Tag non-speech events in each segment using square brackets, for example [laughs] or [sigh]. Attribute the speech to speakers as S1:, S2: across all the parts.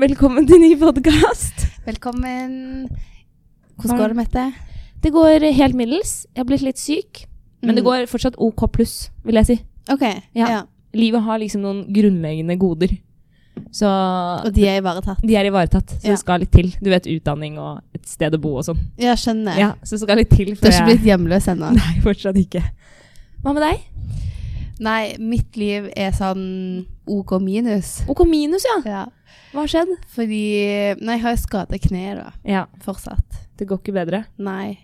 S1: Velkommen til ny podkast.
S2: Velkommen. Hvordan går det, Mette?
S1: Det går helt middels. Jeg har blitt litt syk, men det
S2: Mm.
S1: går fortsatt OK pluss, vil jeg si.
S2: OK.
S1: Ja.
S2: Ja.
S1: Livet har liksom noen grunnleggende goder. Så
S2: Og de er ivaretatt.
S1: de er ivaretatt, så
S2: Ja.
S1: det skal litt til. Du vet, utdanning og et sted å bo og sånn.
S2: Ja, skjønner.
S1: Ja, så det skal litt til
S2: Du
S1: før
S2: har ikke
S1: [laughs]
S2: blitt hjemløs ennå?
S1: Nei, fortsatt ikke. Hva med deg?
S2: Nei, mitt liv er sånn OK minus.
S1: OK minus, ja.
S2: Ja.
S1: Hva har skjedd?
S2: Fordi Nei, jeg har jo skada kneet, da.
S1: Ja,
S2: Fortsatt.
S1: det går ikke bedre.
S2: Nei.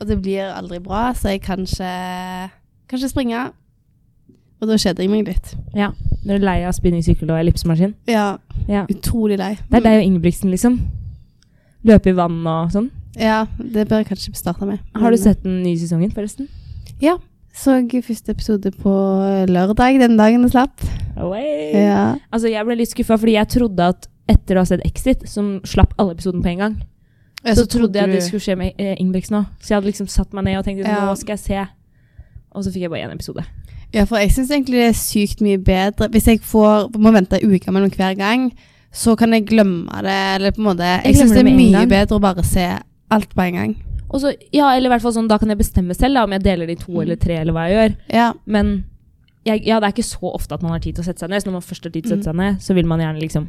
S2: Og det blir aldri bra, så jeg kan ikke kan ikke springe. Og da kjeder jeg meg litt.
S1: Ja. Du er lei av spinningsykkel og ellipsemaskin?
S2: Ja.
S1: Ja.
S2: Utrolig lei.
S1: Det er deg og Ingebrigtsen, liksom. Løpe i vann og sånn.
S2: Ja, det bør jeg kanskje starte med.
S1: Har du
S2: Men-
S1: sett den nye sesongen, forresten?
S2: Ja. Så første episode på eh, lørdag, den dagen det slapp. Ja.
S1: Altså, jeg ble litt skuffa, fordi jeg trodde at etter å ha sett Exit, som slapp alle episoden på en gang,
S2: Ja,
S1: så, trodde jeg
S2: du-
S1: det skulle skje med eh, Ingebrigtsen òg. Så jeg hadde liksom satt meg ned og tenkt
S2: Ja.
S1: nå skal jeg se. Og så fikk jeg bare én episode.
S2: Ja, for jeg syns egentlig det er sykt mye bedre. Hvis jeg får, må vente ei uke mellom hver gang, så kan jeg glemme det. Eller på en måte Jeg,
S1: glemmer
S2: syns det
S1: det
S2: er
S1: med en
S2: mye
S1: gang.
S2: bedre å bare se alt på en gang.
S1: Og så, ja, eller i hvert fall sånn, Da kan jeg bestemme selv da, om jeg deler det i to eller tre, eller hva jeg gjør.
S2: Ja.
S1: Men jeg, ja, det er ikke så ofte at man har tid til å sette seg ned. Så når man først har tid til å sette seg ned, så vil man gjerne liksom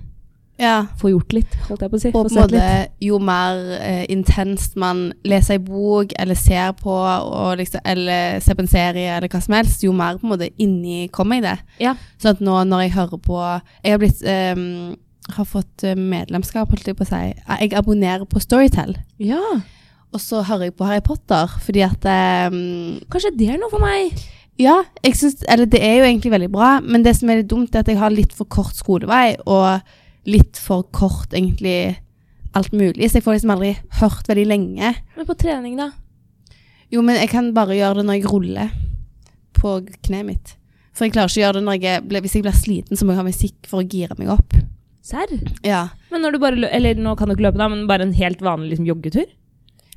S2: ja.
S1: få gjort litt. holdt jeg på å si.
S2: Og på
S1: Få
S2: en
S1: sett litt.
S2: måte, jo mer eh, intenst man leser ei bok eller ser på, og liksom, eller ser på en serie eller hva som helst, jo mer på en måte inni kommer jeg det.
S1: Ja.
S2: Sånn at nå når jeg hører på Jeg har blitt ehm, har fått eh, medlemskap, holdt jeg på å si. Eh, Jeg abonnerer på Storytel.
S1: ja,
S2: Og så hører jeg på Harry Potter, fordi at ehm,
S1: kanskje det er noe for meg.
S2: Ja, jeg synes, eller det er jo egentlig veldig bra, men det som er litt dumt, er at jeg har litt for kort skolevei, og litt for kort egentlig alt mulig. Så jeg får liksom aldri hørt veldig lenge.
S1: Men på trening, da?
S2: Jo, men jeg kan bare gjøre det når jeg ruller på kneet mitt. For jeg klarer ikke å gjøre det når jeg, er- hvis jeg blir sliten, så må jeg ha musikk for å gire meg opp.
S1: Serr?
S2: Ja.
S1: Men når du bare lø Eller nå kan du ikke løpe, da, men bare en helt vanlig liksom, joggetur?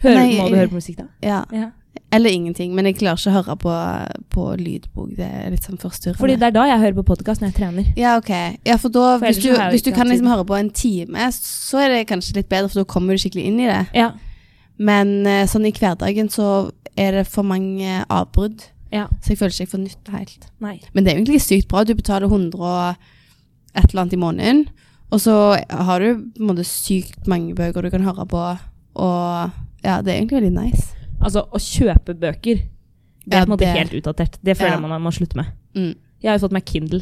S1: Hører,
S2: Nei,
S1: må du høre på musikk da?
S2: ja.
S1: Ja.
S2: Eller ingenting, men jeg klarer ikke å høre på, på lydbok. Det er litt sånn forstyrrende.
S1: Fordi det er da jeg hører på podkast når jeg trener.
S2: ja, ok. Ja, for da,
S1: For
S2: hvis
S1: ellers
S2: du,
S1: så har jeg jo
S2: hvis du
S1: ikke
S2: kan
S1: hatt
S2: liksom
S1: tid.
S2: høre på en time, så er det kanskje litt bedre, for da kommer du skikkelig inn i det.
S1: Ja.
S2: Men eh, sånn i hverdagen så er det for mange avbrudd,
S1: ja.
S2: så jeg føler ikke jeg får nytte helt.
S1: Nei.
S2: Men det er jo egentlig sykt bra. Du betaler 100 og et eller annet i måneden, og så har du på en måte sykt mange bøker du kan høre på, og ja, det er egentlig veldig nice.
S1: Altså, å kjøpe bøker, det er
S2: Ja,
S1: på en måte
S2: det-
S1: helt utdatert. Det føler
S2: Ja.
S1: jeg man må slutte med.
S2: Mm.
S1: Jeg har jo fått meg Kindle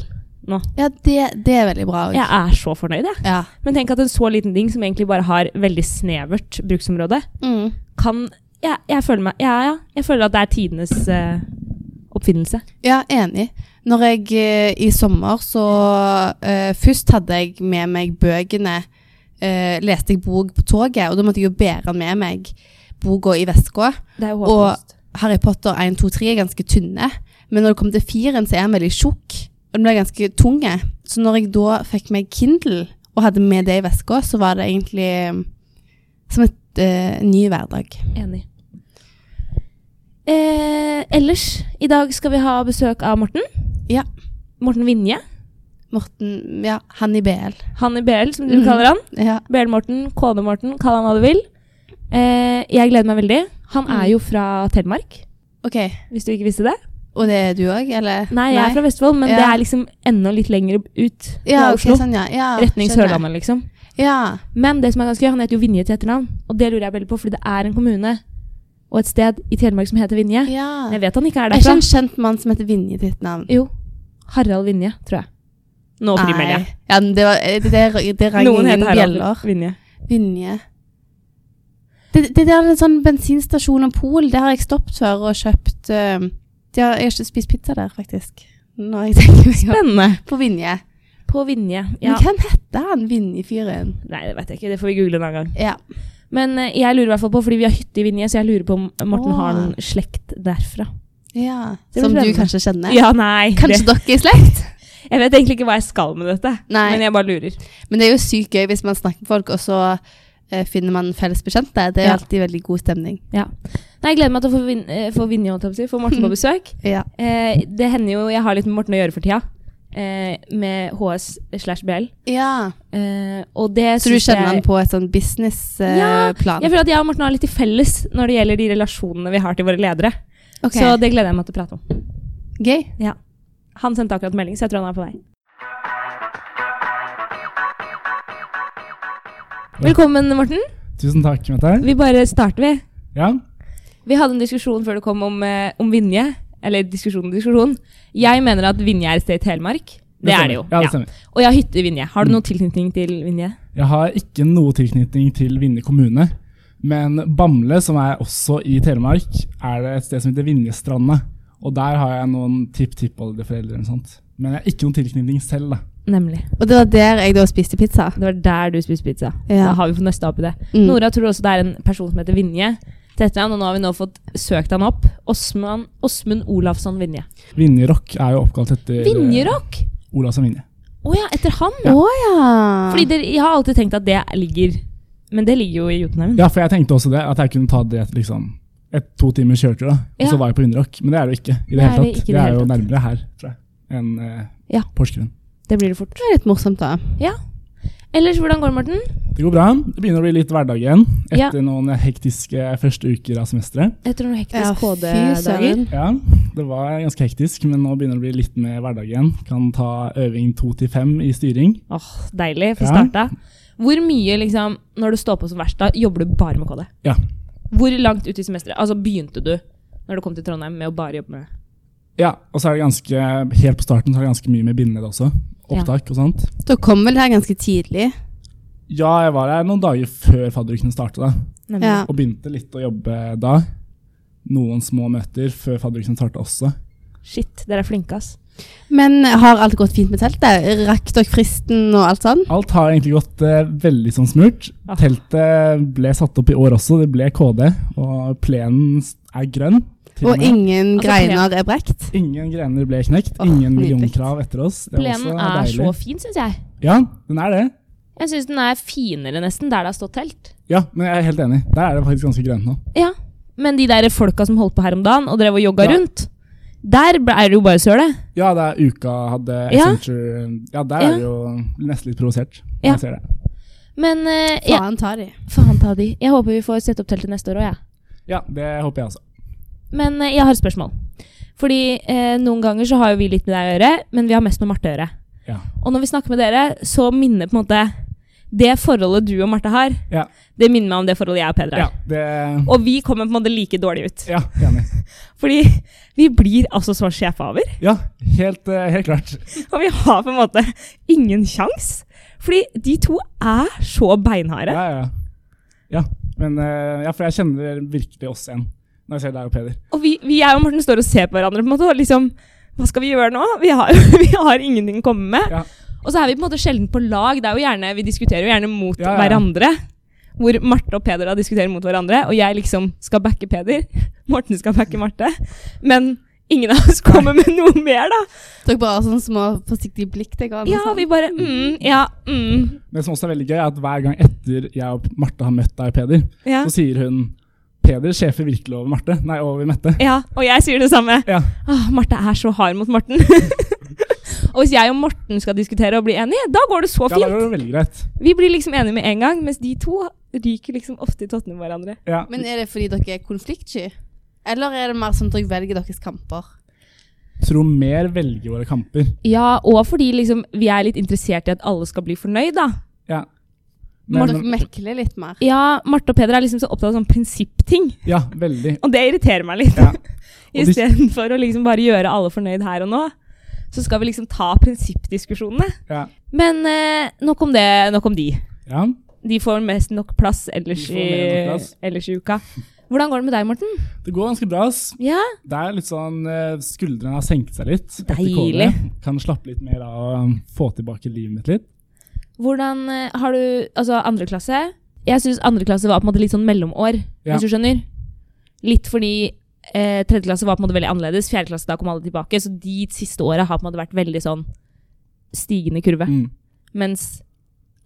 S1: nå.
S2: Ja, det, det er veldig bra. også.
S1: Jeg er så fornøyd, jeg.
S2: Ja.
S1: Men tenk at en så liten ting som egentlig bare har veldig snevert bruksområde,
S2: Mm.
S1: kan Jeg, jeg føler meg Ja, ja. Jeg føler at det er tidenes eh, oppfinnelse.
S2: Ja, enig. Når jeg eh, i sommer så eh, Først hadde jeg med meg bøkene. eh, leste jeg bok på toget, og da måtte jeg jo bære med meg boka i veska.
S1: Det er jo
S2: Og-
S1: håpløst.
S2: Harry Potter 1, 2, 3 er ganske tynne, men når det kommer til 4, så er han veldig tjukk. Og den ble ganske tunge. Så når jeg da fikk meg Kindle og hadde med det i veska, så var det egentlig mm, som et, eh, en ny hverdag.
S1: Enig. Eh, ellers, i dag skal vi ha besøk av Morten.
S2: Ja.
S1: Morten Vinje.
S2: Morten Ja, han i BL.
S1: Han i BL, som
S2: Mhm.
S1: du kaller han.
S2: Ja.
S1: BL-Morten, KD-Morten, kall han hva du vil. Eh, jeg gleder meg veldig. Han
S2: Mhm.
S1: er jo fra Telemark,
S2: OK.
S1: hvis du ikke visste det.
S2: Og det er du òg, eller?
S1: Nei, jeg er fra Vestfold, men
S2: Ja.
S1: det er liksom enda litt lenger ut fra
S2: Ja, ok,
S1: Oslo.
S2: sånn, ja. ja
S1: Retning
S2: skjønner.
S1: Sørlandet, liksom.
S2: Ja.
S1: Men det som er ganske gøy, han heter jo Vinje til etternavn, og det lurer jeg veldig på, fordi det er en kommune og et sted i Telemark som heter Vinje.
S2: ja.
S1: Jeg vet han ikke er
S2: Er ikke
S1: derfra.
S2: en kjent mann som heter Vinje til sitt navn?
S1: Jo. Harald Vinje, tror jeg. Nå frimelder jeg.
S2: Ja, men det, var, eh, det, det, det rang
S1: Noen
S2: ingen
S1: heter Harald
S2: bjeller.
S1: Vinje.
S2: Vinje. Det, det der er en sånn bensinstasjon og pol. Det har jeg stoppet før og kjøpt eh, det har, Jeg har ikke spist pizza der, faktisk. Når jeg tenker meg om.
S1: Spennende.
S2: På Vinje.
S1: På Vinje. Ja.
S2: Men hvem heter han Vinje-fyren?
S1: Nei, det vet jeg ikke. Det får vi google en annen gang.
S2: Ja.
S1: Men eh, jeg lurer i hvert fall på, fordi vi har hytte i Vinje, så jeg lurer på om Morten
S2: Åh.
S1: har noen slekt derfra.
S2: ja.
S1: Det blir
S2: Som du
S1: spennende.
S2: kanskje kjenner?
S1: Ja, nei.
S2: Kanskje
S1: Det.
S2: dere er i
S1: [laughs]
S2: slekt?
S1: Jeg vet egentlig ikke hva jeg skal med dette,
S2: Nei.
S1: men jeg bare lurer.
S2: Men det er jo sykt gøy hvis man snakker med folk, og så eh, finner man felles bekjente. Det er
S1: Ja.
S2: alltid veldig god stemning.
S1: Nei, jeg gleder meg til å få, [laughs] vin eh, få Vinje, holdt jeg på å si, få Morten på besøk.
S2: Ja.
S1: Eh, det hender jo jeg har litt med Morten å gjøre for tida. eh, med HS slash BL.
S2: Ja.
S1: Eh, og det
S2: Så du
S1: synes jeg-
S2: kjenner han på et sånn businessplan?
S1: Ja, Jeg
S2: plan
S1: føler at jeg og Morten har litt til felles når det gjelder de relasjonene vi har til våre ledere.
S2: Ok.
S1: Så det gleder jeg meg til å prate om.
S2: Gøy.
S1: Ja. Han sendte akkurat melding, så jeg tror han er på vei. Velkommen, Morten.
S3: Tusen takk, Mette.
S1: Vi bare starter, vi.
S3: Ja,
S1: Vi hadde en diskusjon før du kom om, eh, om Vinje. Eller diskusjon og diskusjon. Jeg mener at Vinje er et sted i Telemark. Det, er
S3: stemmer.
S1: det jo.
S3: Ja,
S1: Ja.
S3: det stemmer. Mm.
S1: Og jeg har hytte i Vinje. Har du noen tilknytning til Vinje?
S3: Jeg har ikke noe tilknytning til Vinje kommune, men Bamble, som er også i Telemark, er det et sted som heter Vinjestranda. Og der har jeg noen tipp-tippoldeforeldre eller sånt. Men jeg har ikke noen tilknytning selv, da.
S1: Nemlig.
S2: Og det var der jeg da spiste pizza.
S1: Det var der du spiste pizza.
S2: Ja.
S1: Da har vi fått nøsta opp i det.
S2: Mm.
S1: Nora tror også det er en person som heter Vinje. til etternavn, og nå har vi nå fått søkt han opp. Åsmund Åsmund Olafsson Vinje.
S3: Vinjerock er jo oppkalt etter eh,
S1: Vinjerock!
S3: Olavsson Vinje.
S1: Å ja, etter han?
S2: Å ja.
S1: Fordi det, jeg har alltid tenkt at det ligger Men det ligger jo i Jotunheimen.
S3: Ja, for jeg tenkte også det, at jeg kunne ta det liksom et to timers kjørtur, da. Og
S1: Ja.
S3: så var jeg på Vinjerock. Men det er det jo ikke. i
S1: Det
S3: Det,
S1: er
S3: hele
S1: det
S3: tatt.
S1: ikke i det
S3: Det er
S1: hele
S3: jo
S1: tatt.
S3: nærmere her, tror jeg, enn eh,
S1: Ja.
S3: Porsgrunn.
S1: Det blir det fort.
S2: Det er litt morsomt, da.
S1: Ja. Ellers, hvordan går det, Morten?
S3: Det går bra. Det begynner å bli litt hverdag igjen
S1: Ja.
S3: etter noen hektiske første uker av semesteret.
S1: Etter noen hektiske
S2: fy
S1: KD-dager.
S2: søren.
S3: Ja, det var ganske hektisk, men nå begynner det å bli litt mer hverdag igjen. Kan ta øving to til fem i styring.
S1: Åh, Deilig. Få
S3: Ja.
S1: starta. Hvor mye, liksom, når du står på som verst, da jobber du bare med KD?
S3: Ja.
S1: Hvor langt ut i semesteret altså, begynte du når du kom til Trondheim med å bare jobbe med
S3: Ja, og så er det ganske, helt på starten så er det ganske mye med bindeledd også. Opptak og sånt.
S2: Da kom vel det her ganske tidlig.
S3: Ja, jeg var her noen dager før fadderukene startet da,
S1: Nemlig.
S2: Ja.
S3: og begynte litt å jobbe da. Noen små møter før fadderukene startet også.
S1: Shit, dere er flinke, ass.
S2: Men har alt gått fint med teltet? Rakk dere fristen og alt sånn?
S3: Alt har egentlig gått eh, veldig sånn smurt.
S1: Ah.
S3: Teltet ble satt opp i år også, det ble KD, og plenen er grønn. til
S2: Og
S3: med.
S2: ingen
S1: Altså,
S2: greiner er brekt?
S3: Ingen grener ble knekt,
S2: Åh,
S3: ingen
S2: nydelig.
S3: millionkrav etter oss. Det
S1: Ah,
S3: var
S1: Plenen
S3: også
S1: er
S3: deilig.
S1: så fin, syns jeg.
S3: Ja, den er det.
S1: Jeg syns den er finere nesten der det har stått telt.
S3: Ja, men jeg er helt enig. Der er det faktisk ganske grønt nå.
S1: Ja, Men de der folka som holdt på her om dagen og drev og jogga
S3: Ja.
S1: rundt, der ble- er det jo bare søle.
S3: Ja, det er uka hadde
S1: Ja.
S3: Accenture Ja, der
S1: Ja.
S3: er det jo nesten litt provosert.
S1: Ja.
S3: Jeg ser det.
S1: Men eh, jeg,
S2: Faen ta de.
S1: faen ta de. Jeg håper vi får sette opp teltet neste år òg, jeg.
S3: Ja, det håper jeg også.
S1: Men eh, jeg har et spørsmål. Fordi eh, noen ganger så har jo vi litt med deg å gjøre, men vi har mest med Marte å gjøre.
S3: Ja.
S1: Og når vi snakker med dere, så minner på en måte det forholdet du og Marte har,
S3: Ja,
S1: det minner meg om det forholdet jeg og Peder
S3: ja
S1: har.
S3: det
S1: Og vi kommer på en måte like dårlig ut.
S3: Ja, enig.
S1: Fordi vi blir altså så sjefa over.
S3: Ja, helt, eh, helt klart.
S1: Og vi har på en måte ingen sjans. Fordi de to er så beinharde.
S3: Ja, ja. ja. Men eh, ja, for jeg kjenner virkelig oss igjen når jeg ser deg og Peder.
S1: Og vi, vi er jo Morten står og ser på hverandre på en måte, og liksom Hva skal vi gjøre nå? Vi har, [laughs] vi har ingenting å komme med.
S3: Ja.
S1: Og så er vi på en måte sjelden på lag. Det er jo gjerne, Vi diskuterer jo gjerne mot
S3: Ja, ja.
S1: hverandre. Hvor Marte og Peder da diskuterer mot hverandre, og jeg liksom skal backe Peder. [laughs] Morten skal backe Marte. Men ingen av oss kommer med noe mer, da.
S2: Dere bare har sånne små forsiktige blikk til hverandre.
S1: Ja,
S2: sånn.
S1: vi bare mm, Ja, mm.
S3: Det som også er veldig gøy, er at hver gang etter jeg og Marte har møtt deg og Peder,
S1: Ja.
S3: så sier hun Peder sjefer virkelig over Marte. Nei, over Mette.
S1: ja. Og jeg sier det samme.
S3: Ja,
S1: Åh, Ah, Marte er så hard mot Morten. [laughs] og hvis jeg og Morten skal diskutere og bli enige, da går det så
S3: ja da
S1: fint.
S3: går det veldig greit.
S1: Vi blir liksom enige med en gang, mens de to ryker liksom ofte i tottene på hverandre.
S3: Ja.
S2: Men er det fordi dere er konfliktsky? Eller er det mer som dere velger deres kamper?
S3: Tror mer velger våre kamper.
S1: Ja, og fordi liksom vi er litt interessert i at alle skal bli fornøyd, da.
S3: Ja.
S2: dere
S3: Men,
S2: mekler litt mer?
S1: Ja, Marte og Peder er liksom så opptatt av sånn prinsippting,
S3: ja, veldig.
S1: og det irriterer meg litt. [laughs]
S3: Ja. Og de-
S1: Istedenfor å liksom bare gjøre alle fornøyd her og nå, så skal vi liksom ta prinsippdiskusjonene.
S3: Ja.
S1: Men eh, nok om det, nok om de.
S3: ja.
S1: De får mest nok plass ellers,
S3: De får mer enn
S1: i,
S3: nok plass.
S1: ellers i uka. Hvordan går det med deg, Morten?
S3: Det går ganske bra. ass.
S1: Ja,
S3: Det er litt sånn eh, Skuldrene har senket seg litt. etter
S1: Deilig.
S3: korona. Kan slappe litt mer av og få tilbake livet mitt litt.
S1: Hvordan eh, har du Altså, andre klasse Jeg syns andre klasse var på en måte litt sånn mellomår,
S3: Ja.
S1: hvis du skjønner. Litt fordi eh, tredje klasse var på en måte veldig annerledes. Fjerde klasse, da kom alle tilbake. Så de siste åra har på en måte vært veldig sånn stigende kurve.
S3: Mm.
S1: Mens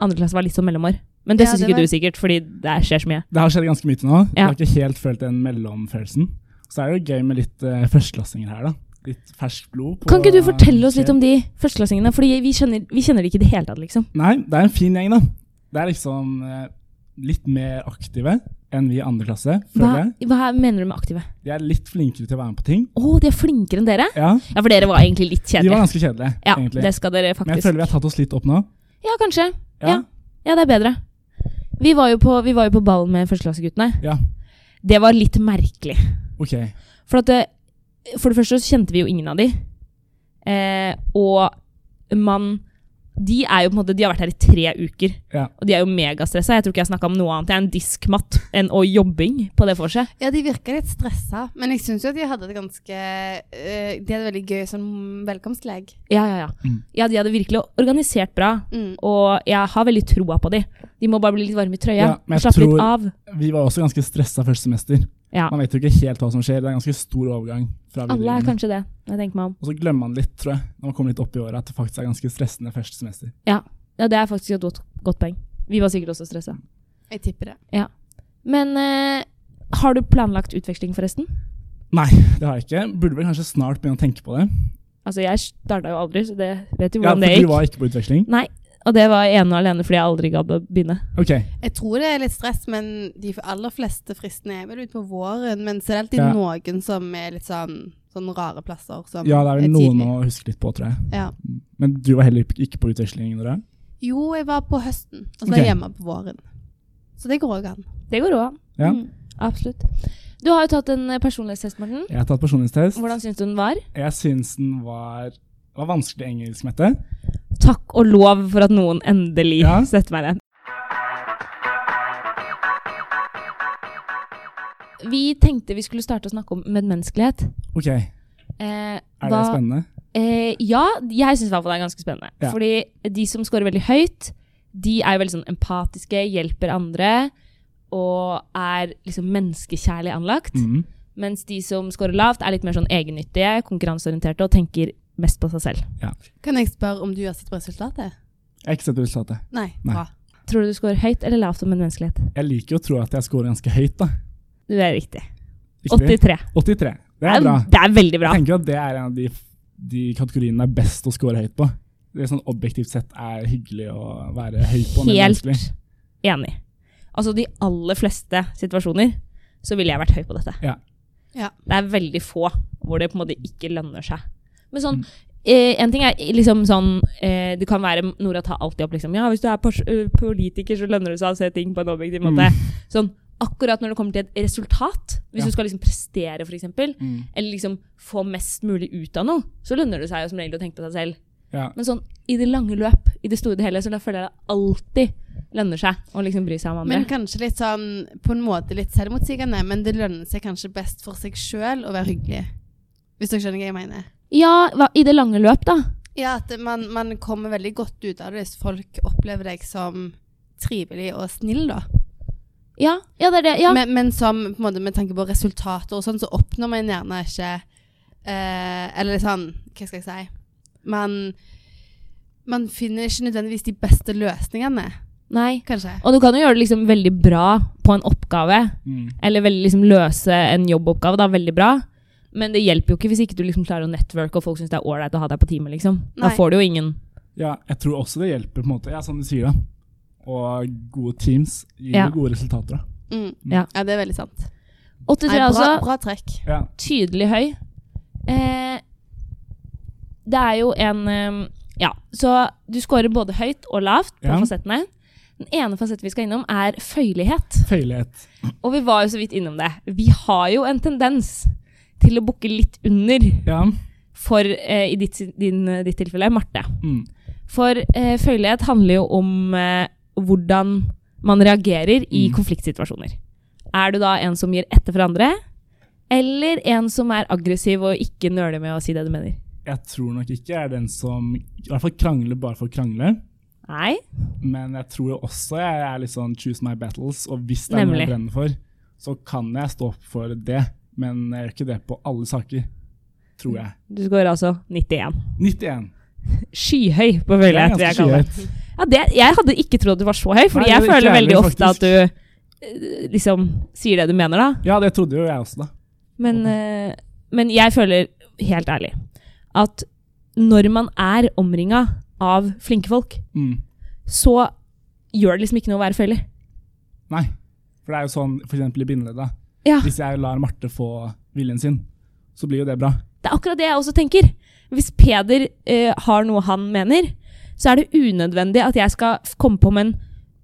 S1: andre klasse var litt sånn mellomår. Men det
S2: Ja,
S1: syns
S2: det
S1: ikke
S2: var-
S1: du sikkert, fordi det skjer så mye.
S3: Det har skjedd ganske mye til nå.
S1: Ja.
S3: Jeg har ikke helt følt den mellomfølelsen. Så er det jo gøy med litt eh, førsteklassinger her, da. litt ferskt blod. På,
S1: Kan ikke du fortelle oss litt om de førsteklassingene? Fordi vi kjenner, vi kjenner de ikke i det hele tatt, liksom.
S3: Nei, det er en fin gjeng, da. Det er liksom eh, litt mer aktive enn vi i andre klasse,
S1: Hva,
S3: føler jeg.
S1: hva er- mener du med aktive?
S3: De er litt flinkere til å være med på ting.
S1: Å, de er flinkere enn dere?
S3: Ja,
S1: Ja, for dere var egentlig litt
S3: De var
S1: kjedelige.
S3: ganske kjedelige,
S1: Ja,
S3: egentlig.
S1: det skal dere
S3: Men jeg
S1: faktisk.
S3: føler vi har tatt oss litt opp nå.
S1: Ja, kanskje.
S3: Ja.
S1: Ja. Ja, det er bedre. Vi var jo på, vi var jo på ballen med førsteklasseguttene.
S3: Ja.
S1: Det var litt merkelig.
S3: Ok.
S1: For, at det, for det første så kjente vi jo ingen av de. Eh, og man De er jo på en måte, de har vært her i tre uker.
S3: Ja.
S1: Og de er jo megastressa. Jeg tror ikke jeg snakka om noe annet enn diskmatt enn og jobbing på det vorset.
S2: Ja, de virka litt stressa, men jeg syns jo at de hadde et ganske eh, De hadde veldig gøy sånn velkomstleg.
S1: Ja, ja, ja.
S3: Mm.
S1: ja, de hadde virkelig organisert bra.
S2: Mm.
S1: Og jeg har veldig troa på de. De må bare bli litt varme i trøya.
S3: Ja, men jeg
S1: og slappe
S3: tror-
S1: litt av.
S3: Vi var også ganske stressa første semester.
S1: Ja.
S3: Man vet jo ikke helt hva som skjer. Det er en ganske stor overgang. fra
S1: Alle er
S3: videregående.
S1: kanskje det. når Jeg tenker meg om.
S3: Og så glemmer man litt, tror jeg, når man kommer litt opp i året, at det faktisk er ganske stressende første semester.
S1: Ja, det er faktisk et godt, godt poeng. Vi var sikkert også stressa.
S2: Jeg tipper det.
S1: Men eh, har du planlagt utveksling, forresten?
S3: Nei, det har jeg ikke. Burde vel kanskje snart begynne å tenke på det.
S1: Altså, jeg starta jo aldri, så det vet du
S3: Ja,
S1: hvordan
S3: for
S1: det
S3: du
S1: gikk.
S3: var ikke på utveksling?
S1: Nei, og det var ene og alene fordi jeg aldri gadd å begynne.
S3: Ok,
S2: Jeg tror det er litt stress, men de aller fleste fristene er vel ute på våren. Men så er det alltid
S3: Ja.
S2: noen som er litt sånn, sånn rare plasser. Som
S3: ja, det er vel noen
S2: tidlig.
S3: å huske litt på, tror jeg.
S2: Ja.
S3: Men du var heller ikke på utveksling, Nora?
S2: Jo, jeg var på høsten, og så var
S3: Ok.
S2: jeg hjemme på våren. Så det går òg an.
S1: Det går òg an.
S3: Ja.
S1: Mm, absolutt. Du har jo tatt en eh, personlighetstest, Morten.
S3: Jeg har tatt personlighetstest.
S1: Hvordan syns du den var?
S3: Jeg syns den var, det var vanskelig engelsk, Mette.
S1: Takk og lov for at noen endelig
S3: Ja.
S1: setter meg ned. Vi tenkte vi skulle starte å snakke om medmenneskelighet.
S3: Ok, er
S1: Eh,
S3: det spennende?
S1: Eh, ja, jeg syns det er ganske spennende.
S3: Ja.
S1: Fordi de som scorer veldig høyt, de er jo veldig sånn empatiske, hjelper andre og er liksom menneskekjærlig anlagt.
S3: Mm.
S1: Mens de som scorer lavt, er litt mer sånn egennyttige, konkurranseorienterte og tenker mest på seg selv.
S2: Kan jeg spørre om du har sett på resultatet?
S3: Jeg har ikke sett resultatet.
S2: Nei.
S3: Nei.
S2: Bra.
S1: Tror du du scorer høyt eller lavt om en menneskelighet?
S3: Jeg liker jo å tro at jeg scorer ganske høyt, da.
S1: Du er riktig.
S3: Riktig?
S1: 83.
S3: 83. Det er bra.
S1: det er veldig bra.
S3: Jeg tenker at det er en av de, de kategoriene det er best å score høyt på. Det er sånn Objektivt sett er hyggelig å være høy på. men
S1: Helt
S3: vanskelig.
S1: enig. Altså, de aller fleste situasjoner så ville jeg vært høy på dette.
S3: Ja.
S2: Ja.
S1: Det er veldig få hvor det på en måte ikke lønner seg. Men
S3: Mm.
S1: sånn, eh, en ting er liksom sånn eh, Det kan være Nora tar alltid opp liksom Ja, hvis du er pers- eh, politiker, så lønner det seg å se ting på en objektiv måte. Sånn, akkurat når det kommer til et resultat, hvis
S3: Mm. Ja.
S1: du skal liksom prestere, for eksempel,
S3: Mm.
S1: eller liksom få mest mulig ut av noe, så lønner det seg jo som regel å tenke på seg selv.
S3: Ja.
S1: Men sånn, i det lange løp, i det store og det hele, så da føler jeg det alltid lønner seg å liksom bry seg om andre.
S2: Men kanskje litt sånn på en måte litt selvmotsigende, men det lønner seg kanskje best for seg sjøl å være hyggelig. Hvis dere skjønner hva jeg mener.
S1: ja, hva, i det lange løp, da.
S2: Ja, at man, man kommer veldig godt ut av det hvis folk opplever deg som trivelig og snill, da.
S1: Ja, ja det er det. Ja.
S2: Men, men som, på en måte, med tanke på resultater og sånn, så oppnår man gjerne ikke eh, Eller sånn, hva skal jeg si Man, man finner ikke nødvendigvis de beste løsningene,
S1: Nei.
S2: kanskje.
S1: Og du kan jo gjøre det liksom veldig bra på en oppgave,
S3: Mm.
S1: eller veldig liksom løse en jobboppgave, da, veldig bra. Men det hjelper jo ikke hvis ikke du liksom klarer å networke, og folk syns det er ålreit å ha deg på teamet, liksom. Da
S2: Nei.
S1: får du jo ingen
S3: ja, jeg tror også det hjelper, på en måte. Ja, som du sier, da. Og gode teams gir
S1: Ja.
S3: gode resultater, da.
S2: Mm.
S1: Ja.
S2: Ja. det er veldig sant.
S1: 83,
S2: Nei, bra,
S1: altså.
S2: bra trekk.
S3: Ja.
S1: tydelig høy. Eh, det er jo en eh, Ja, så du scorer både høyt og lavt på
S3: Ja.
S1: fasettene. Den ene fasetten vi skal innom, er føyelighet.
S3: Føyelighet.
S1: Og vi var jo så vidt innom det. Vi har jo en tendens til å bukke litt under
S3: Ja.
S1: for, eh, i ditt, din, ditt tilfelle, Marte.
S3: Mm.
S1: For eh, føyelighet handler jo om eh, hvordan man reagerer i
S3: Mm.
S1: konfliktsituasjoner. Er du da en som gir etter for andre, eller en som er aggressiv og ikke nøler med å si det du mener?
S3: Jeg tror nok ikke jeg er den som i hvert fall krangler bare for å krangle.
S1: Nei.
S3: Men jeg tror jo også jeg er litt sånn choose my battles, og hvis det er noe
S1: Nemlig.
S3: jeg brenner for, så kan jeg stå opp for det. Men jeg gjør ikke det på alle saker, tror jeg.
S1: Du scorer altså 91.
S3: 91.
S1: Skyhøy på føyelighet, vil
S3: Det er
S1: jeg kalle det.
S3: ganske skyhøyt.
S1: Ja, det. Jeg hadde ikke trodd du var så høy,
S3: Nei,
S1: fordi
S3: det
S1: jeg
S3: er ikke
S1: føler veldig
S3: jeg heller,
S1: ofte at du eh, liksom sier det du mener, da.
S3: Mm. Ja, det trodde jo jeg også, da.
S1: Men, eh, men jeg føler helt ærlig, at når man er omringa av flinke folk,
S3: Mm.
S1: så gjør det liksom ikke noe å være føyelig.
S3: Nei. For det er jo sånn f.eks. i bindeleddet.
S1: Ja.
S3: Hvis jeg lar Marte få viljen sin, så blir jo det bra.
S1: Det er akkurat det jeg også tenker. Hvis Peder eh, har noe han mener, så er det unødvendig at jeg skal f- komme på med en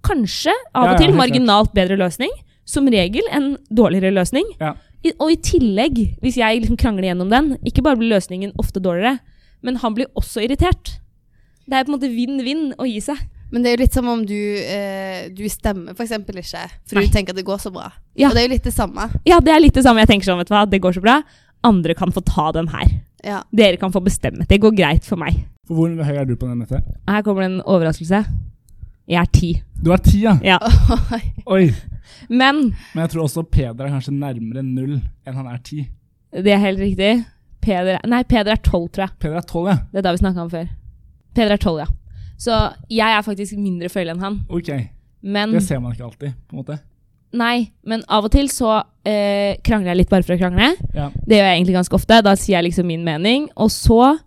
S1: kanskje av
S3: Ja, ja,
S1: og til
S3: helt klart.
S1: marginalt bedre løsning. Som regel en dårligere løsning.
S3: Ja.
S1: I, og i tillegg, hvis jeg liksom krangler gjennom den, ikke bare blir løsningen ofte dårligere, men han blir også irritert. Det er på en måte vinn-vinn å gi seg.
S2: Men det er jo litt som om du, eh, du stemmer for eksempel ikke, for
S1: Nei.
S2: du tenker at det går så bra.
S1: Ja.
S2: Og det er jo litt det samme. [laughs]
S1: Ja, det er litt det samme. Jeg tenker sånn, vet du hva, det går så bra. Andre kan få ta den her.
S2: Ja.
S1: Dere kan få bestemme. Det går greit for meg.
S3: For hvor høy er du på den, Mette?
S1: Her kommer det en overraskelse. Jeg er ti.
S3: Du er ti, ja?
S1: Ja.
S3: Oi.
S1: Men
S3: Men jeg tror også Peder er kanskje nærmere null enn han er ti.
S1: Det er helt riktig. Peder, nei, Peder er tolv, tror jeg.
S3: Peder er tolv, ja.
S1: Det er da vi snakka om før. Peder er tolv, ja. Så jeg er faktisk mindre følelig enn han.
S3: Ok.
S1: Men,
S3: Det ser man ikke alltid, på en måte.
S1: nei, men av og til så eh, krangler jeg litt bare for å krangle.
S3: Ja.
S1: Det gjør jeg egentlig ganske ofte. Da sier jeg liksom min mening. Og så,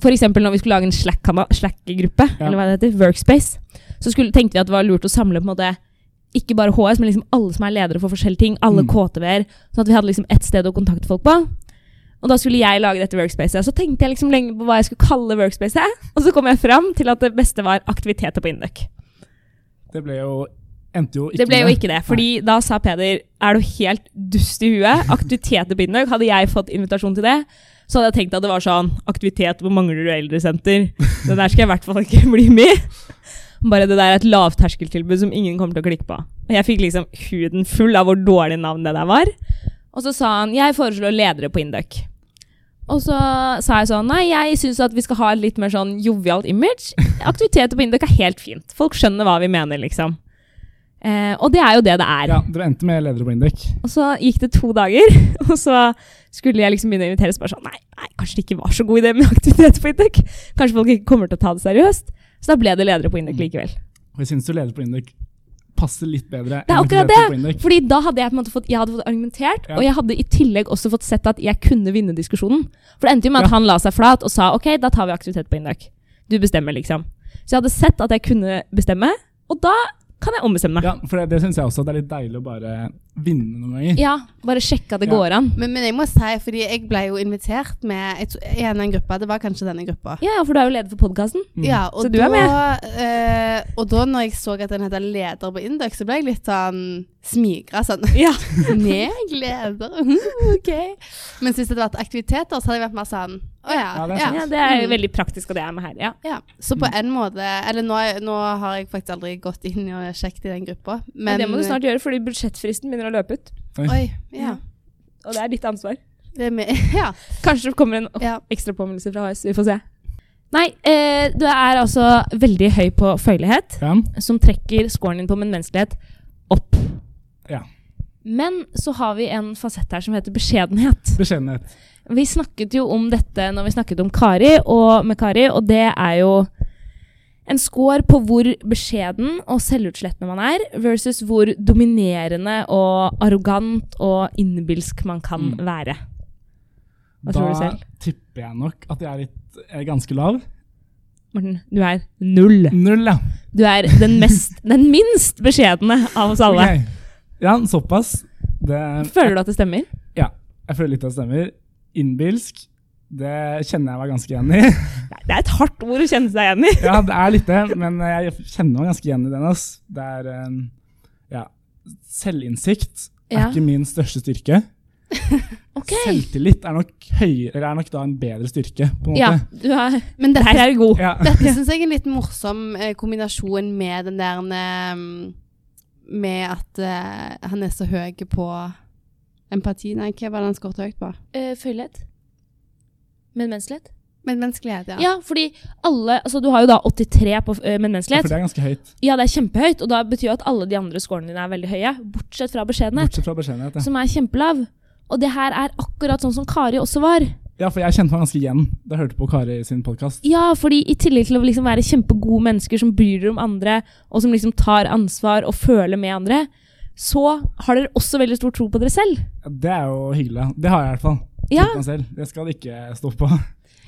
S1: for eksempel når vi skulle lage en Slack-kana- Slack-gruppe,
S3: Ja.
S1: eller hva det heter, Workspace, så skulle, tenkte vi at det var lurt å samle på en måte ikke bare HS, men liksom alle som er ledere for forskjellige ting, alle
S3: Mm.
S1: KTV-er, sånn at vi hadde liksom ett sted å kontakte folk på. Og da skulle jeg lage dette workspacet. Så tenkte jeg liksom lenge på hva jeg skulle kalle workspacet, og så kom jeg fram til at det beste var aktiviteter på Induc.
S3: Det ble jo Endte jo ikke
S1: Det ble jo
S3: med
S1: ikke det, fordi da sa Peder er du helt dust i huet? Aktiviteter på Indøk, hadde jeg fått invitasjon til det, så hadde jeg tenkt at det var sånn aktivitet på Manglerud eldresenter. Det der skal jeg i hvert fall ikke [laughs] bli med i. Bare det der er et lavterskeltilbud som ingen kommer til å klikke på. Og jeg fikk liksom huden full av hvor dårlig navn det der var. Og så sa han jeg foreslår ledere på Indøk. Og så sa jeg sånn nei, jeg syns at vi skal ha et litt mer sånn jovialt image. Aktiviteter på Indøk er helt fint. Folk skjønner hva vi mener, liksom. Eh, og det er jo det det er.
S3: Ja, Dere endte med ledere på Indek.
S1: Og så gikk det to dager, [laughs] og så skulle jeg liksom begynne å invitere. Så bare sånn, nei, nei, kanskje det ikke var så god idé med aktivitet på Induk. Kanskje folk ikke kommer til å ta det seriøst. Så da ble det ledere på Induk likevel.
S3: Og jeg syns jo ledere på Indek passer litt bedre.
S1: Det er
S3: enn
S1: akkurat
S3: ledere på Indek.
S1: Fordi da hadde jeg på en måte fått, jeg hadde fått argumentert,
S3: Ja.
S1: og jeg hadde i tillegg også fått sett at jeg kunne vinne diskusjonen. For det endte jo med at
S3: Ja.
S1: han la seg flat og sa ok, da tar vi aktivitet på Induk. Du bestemmer, liksom. Så jeg hadde sett at jeg kunne bestemme, og da kan jeg ombestemme meg.
S3: Ja, for det, det syns jeg også. Det er litt deilig å bare vinne noen ganger.
S1: Ja, bare sjekke at det
S3: Ja.
S1: går an.
S2: Men, men jeg må si, fordi jeg ble jo invitert med jeg tror- en av en gruppe, det var kanskje denne gruppa.
S1: Ja, ja, for du er jo leder for podkasten.
S2: Ja, og
S1: Så du er
S2: da, eh, og da når jeg så at den heter leder på Indøk, så ble jeg litt sånn smigra sånn.
S1: [laughs] [laughs]
S2: [laughs]
S1: Ja.
S2: Meg leder? Mm, ok. Mens hvis det hadde vært aktiviteter, så hadde jeg vært mer sånn å
S3: Ja,
S2: ja.
S3: det er
S2: ja,
S3: sant.
S1: Ja, det er Mm. jo
S2: Mm.
S1: veldig praktisk, og det er med her. Ja.
S2: Ja, så på en måte Eller nå, nå har jeg faktisk aldri gått inn og sjekket i den gruppa. Men, eh,
S1: Men det må du snart gjøre, fordi budsjettfristen begynner å løpe ut.
S2: Oi, ja.
S1: Og det er ditt ansvar.
S2: Det er med, [laughs] ja,
S1: Kanskje det kommer en
S2: ja.
S1: ekstra påminnelse fra HS. Vi får se. Nei, eh, du er altså veldig høy på føyelighet,
S3: Ja.
S1: som trekker scoren din på min menneskelighet opp.
S3: Ja.
S1: Men så har vi en fasett her som heter beskjedenhet.
S3: Beskjedenhet.
S1: Vi snakket jo om dette når vi snakket om Kari og med Kari, og det er jo en score på hvor beskjeden og selvutslettende man er, versus hvor dominerende og arrogant og innbilsk man kan
S3: Mm.
S1: være. Hva
S3: Da
S1: tror du selv?
S3: tipper jeg nok at jeg er litt er ganske lav.
S1: Morten, du er null.
S3: Null, ja.
S1: Du er den, mest, [laughs] den minst beskjedne av oss alle.
S3: Ok. Ja, såpass. Det,
S1: Føler du at det stemmer?
S3: Ja, jeg føler litt at det stemmer. Innbilsk, det kjenner jeg meg ganske igjen i. [laughs]
S1: Nei, det er et hardt ord å kjenne seg igjen i.
S3: Ja, det er litt det, men jeg kjenner meg ganske igjen i den. Ass. Det er eh, ja. Selvinnsikt er
S1: Ja.
S3: ikke min største styrke.
S1: [laughs] Ok.
S3: Selvtillit er nok, høyere, eller er nok da en bedre styrke, på en
S1: Ja,
S3: måte.
S1: du er,
S2: Men
S1: der
S2: dette,
S1: er du god.
S3: Ja.
S2: dette syns jeg er en litt morsom eh, kombinasjon med den der eh, Med at eh, han er så høy på empati Nei, hva var det han skåret høyt på?
S1: Uh, Følelighet. Medmenneskelighet.
S2: Medmenneskelighet, ja.
S1: Ja, fordi alle Altså, du har jo da 83 på eh,
S3: Ja, For
S1: medmenneskelighet.
S3: det er ganske høyt.
S1: Ja, det er kjempehøyt, og da betyr jo at alle de andre scorene dine er veldig høye. Bortsett fra beskjedenhet,
S3: Bortsett fra beskjedenhet. Ja.
S1: som er kjempelav. Og det her er akkurat sånn som Kari også var.
S3: ja, for jeg kjente meg ganske igjen da jeg hørte på Kari sin podkast.
S1: Ja, fordi i tillegg til å liksom være kjempegode mennesker som bryr dere om andre, og som liksom tar ansvar og føler med andre, så har dere også veldig stor tro på dere selv.
S3: Det er jo hyggelig. da. Det har jeg i hvert fall.
S1: Ja.
S3: Tenk meg selv. Det skal det ikke stå på.